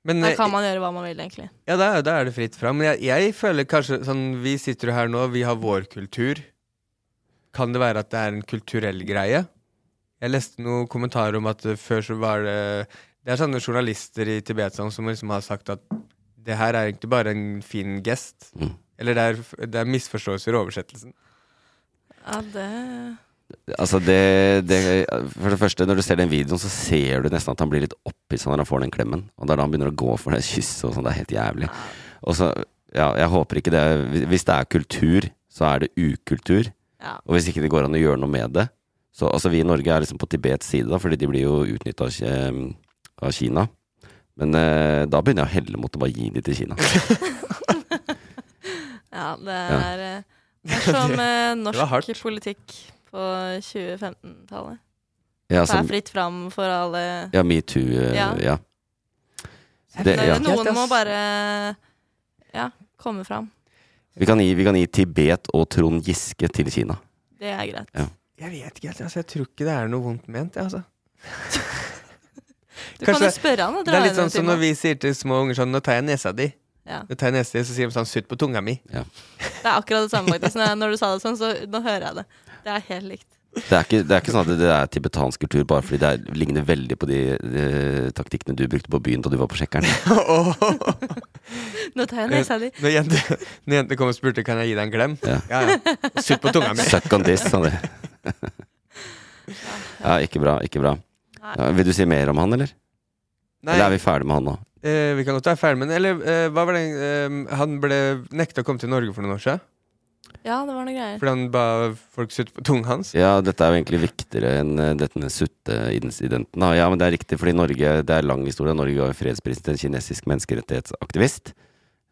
[SPEAKER 2] Men,
[SPEAKER 3] Der
[SPEAKER 2] eh,
[SPEAKER 3] kan man gjøre hva man vil, egentlig.
[SPEAKER 2] Ja, da, da er det fritt fram. Men jeg, jeg føler kanskje sånn Vi sitter jo her nå, vi har vår kultur. Kan det være at det er en kulturell greie? Jeg leste noen kommentarer om at eh, før så var det Det er sånne journalister i Tibet sånn, som liksom har sagt at det her er egentlig bare en fin gest.
[SPEAKER 1] Mm.
[SPEAKER 2] Eller det er, det er misforståelser i oversettelsen.
[SPEAKER 3] Ja, det
[SPEAKER 1] Altså det, det For det første, når du ser den videoen, så ser du nesten at han blir litt opphissa når han får den klemmen. Og det er da han begynner å gå for det kysset og sånn. Det er helt jævlig. Og så, ja, jeg håper ikke det er- Hvis det er kultur, så er det ukultur.
[SPEAKER 3] Ja.
[SPEAKER 1] Og hvis ikke det går an å gjøre noe med det Så altså, vi i Norge er liksom på Tibets side, da, fordi de blir jo utnytta av, Ki- av Kina. Men eh, da begynner jeg å helle mot å bare gi de til Kina.
[SPEAKER 3] ja, det
[SPEAKER 1] Ja.
[SPEAKER 3] er eh, Det er som
[SPEAKER 2] var
[SPEAKER 3] eh, norsk
[SPEAKER 2] hardt.
[SPEAKER 3] politikk på 2015-tallet.
[SPEAKER 1] Ja,
[SPEAKER 3] Det
[SPEAKER 1] som-
[SPEAKER 3] er fritt fram for alle
[SPEAKER 1] Altså, ja metoo. eh,
[SPEAKER 3] Ja.
[SPEAKER 1] ja. Det,
[SPEAKER 3] Nei,
[SPEAKER 1] ja.
[SPEAKER 3] Noen må bare ja, komme fram.
[SPEAKER 1] Vi, kan gi, vi kan gi Tibet og Trond Giske til Kina.
[SPEAKER 3] Det er greit.
[SPEAKER 1] Ja.
[SPEAKER 2] Jeg vet ikke helt. Altså, jeg tror ikke det er noe vondt ment, jeg, altså.
[SPEAKER 3] Du
[SPEAKER 2] Kanskje
[SPEAKER 3] kan jo spørre han og
[SPEAKER 2] Det
[SPEAKER 3] dra
[SPEAKER 2] er litt
[SPEAKER 3] inn en
[SPEAKER 2] sånn som
[SPEAKER 3] time.
[SPEAKER 2] når vi sier til små unger sånn Nå tar jeg nesa di.
[SPEAKER 3] Ja.
[SPEAKER 2] Nå tar jeg nesa di, Så sier de sånn Sutt på tunga mi.
[SPEAKER 3] Det er akkurat det samme, faktisk. Når- Når du sa det sånn, så nå hører jeg det. Det er helt likt.
[SPEAKER 1] Det er, ikke, det er ikke sånn at det er tibetansk kultur bare fordi det er, ligner veldig på de, de taktikkene du brukte på byen da du var på sjekkeren.
[SPEAKER 3] Nå tar jeg nesa di.
[SPEAKER 2] Når jentene jente kom og spurte Kan jeg gi deg en klem
[SPEAKER 1] Ja.
[SPEAKER 2] ja, ja. Sutt på tunga mi
[SPEAKER 1] Suck on this, sa de. Ja, ikke bra. ikke bra ja, Vil du si mer om han, eller?
[SPEAKER 2] Nei,
[SPEAKER 1] Eller er
[SPEAKER 2] vi...
[SPEAKER 1] vi ferdig med han nå?
[SPEAKER 2] Eh, vi kan godt være ferdig med den. Eller eh, hva var det eh, Han ble nekta å komme til Norge for noen år siden
[SPEAKER 3] Ja, det var noe greier.
[SPEAKER 2] Fordi han ba folk sutte på tunga hans
[SPEAKER 1] Ja, dette er jo egentlig viktigere enn eh, denne sutteincidenten. da. Ja, men det er riktig, fordi Norge, det er lang historie. Norge ga jo fredsprisen til en kinesisk menneskerettighetsaktivist.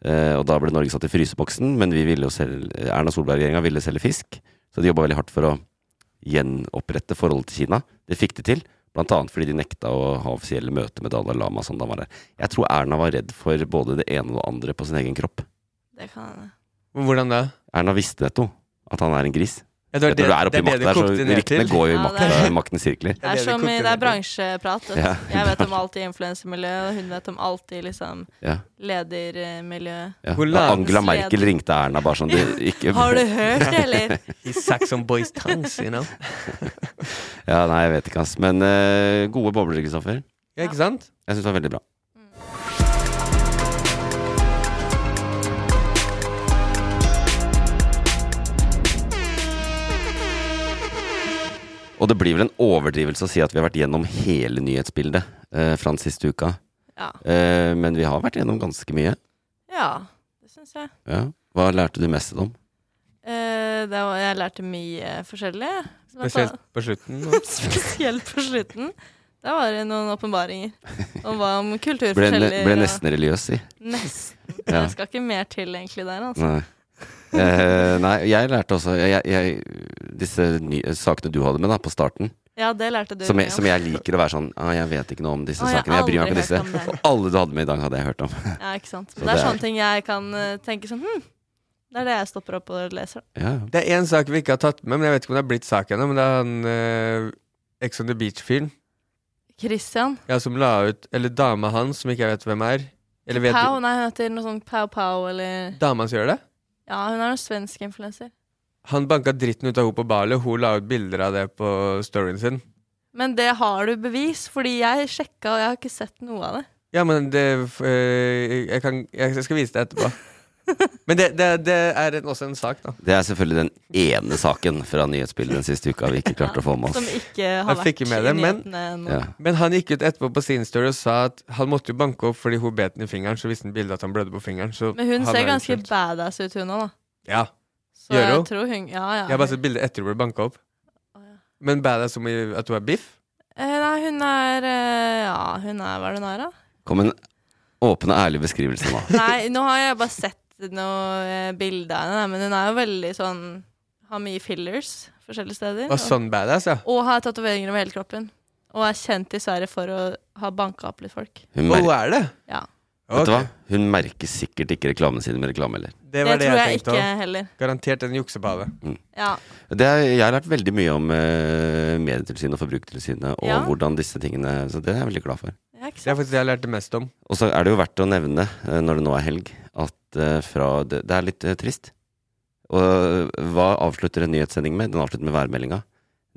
[SPEAKER 1] Eh, og da ble Norge satt i fryseboksen, men vi ville jo selge, Erna Solberg-regjeringa ville selge fisk. Så de jobba veldig hardt for å gjenopprette forholdet til Kina. Det fikk de til, blant annet fordi de nekta å ha offisielle møter med Dalai Lama. Sånn da han var der. Jeg tror Erna var redd for både det ene og det andre på sin egen kropp.
[SPEAKER 3] Det kan hende.
[SPEAKER 2] Hvordan da?
[SPEAKER 1] Erna visste netto at han er en gris.
[SPEAKER 2] Ja,
[SPEAKER 1] Når
[SPEAKER 2] det, var
[SPEAKER 1] du er
[SPEAKER 2] det
[SPEAKER 1] oppe i
[SPEAKER 2] er det
[SPEAKER 1] makta
[SPEAKER 2] det
[SPEAKER 1] der,
[SPEAKER 2] kokte
[SPEAKER 1] så
[SPEAKER 2] ned
[SPEAKER 1] ryktene
[SPEAKER 2] til.
[SPEAKER 1] går jo i
[SPEAKER 3] Ja, det
[SPEAKER 1] makta,
[SPEAKER 3] er-
[SPEAKER 1] maktens sirkler.
[SPEAKER 3] Det er,
[SPEAKER 2] det
[SPEAKER 3] som,
[SPEAKER 2] kokte
[SPEAKER 3] i- det
[SPEAKER 2] ned
[SPEAKER 3] er
[SPEAKER 2] til.
[SPEAKER 3] bransjeprat. vet du.
[SPEAKER 1] Ja.
[SPEAKER 3] Jeg vet om alt i influensemiljøet, og hun vet om alt i liksom,
[SPEAKER 1] Ja.
[SPEAKER 3] ledermiljøet.
[SPEAKER 1] Ja.
[SPEAKER 2] Hvor
[SPEAKER 1] Da Angela
[SPEAKER 3] langt-
[SPEAKER 1] Merkel ringte Erna bare sånn du, ikke,
[SPEAKER 3] Har du hørt det, eller?
[SPEAKER 2] I Saxon Boys Tanks, you know
[SPEAKER 1] Ja, Nei, jeg vet ikke, ass. Men eh, gode bobler, Kristoffer.
[SPEAKER 2] Ja, ikke sant?
[SPEAKER 1] Jeg syns det var veldig bra. Og det blir vel en overdrivelse å si at vi har vært gjennom hele nyhetsbildet eh, fra den siste uka.
[SPEAKER 3] Ja.
[SPEAKER 1] Eh, men vi har vært gjennom ganske mye.
[SPEAKER 3] ja det syns jeg.
[SPEAKER 1] Ja. Hva lærte du mest om?
[SPEAKER 3] Eh, det var, jeg lærte mye forskjellig. Blant
[SPEAKER 2] Spesielt på slutten
[SPEAKER 3] annet- Spesielt på slutten. Da var det noen åpenbaringer om hva om kultur
[SPEAKER 1] Ble, ne,
[SPEAKER 3] forskjeller,
[SPEAKER 1] ble
[SPEAKER 3] og-
[SPEAKER 1] nesten religiøs, si.
[SPEAKER 3] Nesten.
[SPEAKER 1] Ja.
[SPEAKER 3] Jeg skal ikke mer til egentlig der, altså.
[SPEAKER 1] Nei. Eh, nei, jeg lærte også jeg, jeg, Disse ny, sakene du hadde med da på starten,
[SPEAKER 3] Ja, det lærte du
[SPEAKER 1] som
[SPEAKER 3] meg
[SPEAKER 1] jeg,
[SPEAKER 3] om.
[SPEAKER 1] som jeg liker å være sånn ah, 'Jeg vet ikke noe om disse
[SPEAKER 3] Å, jeg har
[SPEAKER 1] sakene, jeg bryr meg
[SPEAKER 3] aldri
[SPEAKER 1] ikke om disse'.
[SPEAKER 3] hørt om det.
[SPEAKER 1] Og alle du hadde med i dag, hadde jeg hørt om.
[SPEAKER 3] Ja, ikke sant.
[SPEAKER 1] Så
[SPEAKER 3] det er
[SPEAKER 1] det er-
[SPEAKER 3] sånne ting jeg kan eh, tenke sånn hm, Det er det jeg stopper opp og leser.
[SPEAKER 1] Ja.
[SPEAKER 2] Det er en sak vi ikke har tatt med Men jeg vet ikke om det har blitt sak ennå Men det er han eh, Ex on the Beach-fyren
[SPEAKER 3] Christian.
[SPEAKER 2] Ja, som la ut Eller dama hans, som ikke jeg vet hvem er Eller vet
[SPEAKER 3] Pow?
[SPEAKER 2] du
[SPEAKER 3] Nei, hun heter noe sånn Pow Pow eller
[SPEAKER 2] Dama hans gjør det?
[SPEAKER 3] Ja, hun er en svensk influenser.
[SPEAKER 2] Han banka dritten ut av henne på Bali, og hun la ut bilder av det på storyen sin.
[SPEAKER 3] Men det har du bevis, fordi jeg sjekka, og jeg har ikke sett noe av det.
[SPEAKER 2] Ja, men det f- eh, jeg, kan, jeg skal vise deg etterpå. Men det, det, det er en, også en sak, da.
[SPEAKER 1] Det er selvfølgelig den ene saken fra nyhetsbildet den siste uka vi ikke klarte å få med
[SPEAKER 3] Som
[SPEAKER 1] oss.
[SPEAKER 3] ikke
[SPEAKER 2] Jeg
[SPEAKER 3] har
[SPEAKER 2] fikk med
[SPEAKER 3] vært
[SPEAKER 2] det,
[SPEAKER 3] i
[SPEAKER 2] men-
[SPEAKER 3] nyhetene ennå.
[SPEAKER 1] Ja.
[SPEAKER 2] Men han gikk ut etterpå på sin story og sa at han måtte jo banke opp fordi hun bet den i fingeren, så visste han bildet at han blødde på fingeren. Så
[SPEAKER 3] Men hun
[SPEAKER 2] han
[SPEAKER 3] ser
[SPEAKER 2] er
[SPEAKER 3] ganske
[SPEAKER 2] uskyldt.
[SPEAKER 3] badass ut, hun òg, da.
[SPEAKER 2] Ja.
[SPEAKER 3] Så
[SPEAKER 2] Gjør
[SPEAKER 3] jeg
[SPEAKER 2] hun?
[SPEAKER 3] tror hun Ja, ja.
[SPEAKER 2] Jeg har bare sett bildet etter hun ble banka opp.
[SPEAKER 3] Å, ja.
[SPEAKER 2] Men badass som i at hun er biff?
[SPEAKER 3] Eh, Nei, hun er eh, Ja, hun er hva er det hun er, da?
[SPEAKER 1] Kom en åpen og ærlig beskrivelse nå.
[SPEAKER 3] Nei, nå har jeg bare sett noe eh, bilde av henne, men hun er jo veldig sånn Har mye fillers forskjellige steder.
[SPEAKER 2] Var sånn badass, ja.
[SPEAKER 3] Og, og har tatoveringer over hele kroppen. Og er kjent i Sverige for å ha banka opp litt folk.
[SPEAKER 1] Hun,
[SPEAKER 2] Og
[SPEAKER 1] mer
[SPEAKER 2] hun er det?
[SPEAKER 3] Ja.
[SPEAKER 1] Vet du hva?
[SPEAKER 2] Ok.
[SPEAKER 1] Hun merker sikkert ikke reklamene sine med reklame heller.
[SPEAKER 2] Det
[SPEAKER 3] Det
[SPEAKER 2] var det, jeg
[SPEAKER 3] tror jeg
[SPEAKER 2] tenkte
[SPEAKER 3] ikke
[SPEAKER 2] òg.
[SPEAKER 3] heller.
[SPEAKER 2] Garantert en juksepave.
[SPEAKER 3] Ja.
[SPEAKER 1] Det er, jeg har lært veldig mye om eh, Medietilsynet og Forbrukertilsynet og
[SPEAKER 3] Ja.
[SPEAKER 1] hvordan disse tingene Så det er jeg veldig glad for.
[SPEAKER 3] ja
[SPEAKER 2] Det er
[SPEAKER 3] ikke sant?
[SPEAKER 2] faktisk det jeg lærte mest om.
[SPEAKER 1] Og så er det jo verdt å nevne, eh, når det nå er helg, at eh, fra Det, det er litt eh, trist. Og eh, hva avslutter en nyhetssending med? Den avslutter med værmeldinga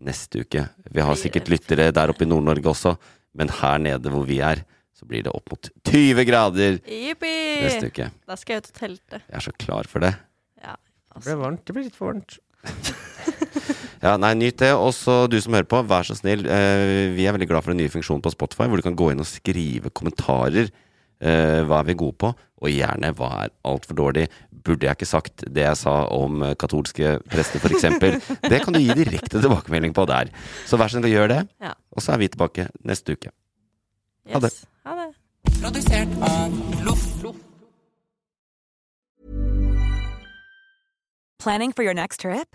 [SPEAKER 1] neste uke. Vi har sikkert lyttere der oppe i Nord-Norge også, men her nede hvor vi er, så blir det opp mot 20 grader neste
[SPEAKER 3] Jippi!
[SPEAKER 1] uke.
[SPEAKER 3] Da skal jeg ut og telte.
[SPEAKER 1] Jeg er så klar for det.
[SPEAKER 3] Ja,
[SPEAKER 2] Det ble varmt. Det ble litt for varmt.
[SPEAKER 1] Ja, nei, Nyt det. Og så du som hører på, vær så snill. eh, vi er veldig glad for den nye funksjonen på Spotify, hvor du kan gå inn og skrive kommentarer. Eh, hva er vi gode på? Og gjerne hva er altfor dårlig? Burde jeg ikke sagt det jeg sa om eh, katolske prester, f.eks.? Det kan du gi direkte tilbakemelding på der. Så vær så snill og gjør det.
[SPEAKER 3] Ja.
[SPEAKER 1] Og så er vi tilbake neste uke. Ha det.
[SPEAKER 3] yes. Ha det.
[SPEAKER 5] Planning for your next trip?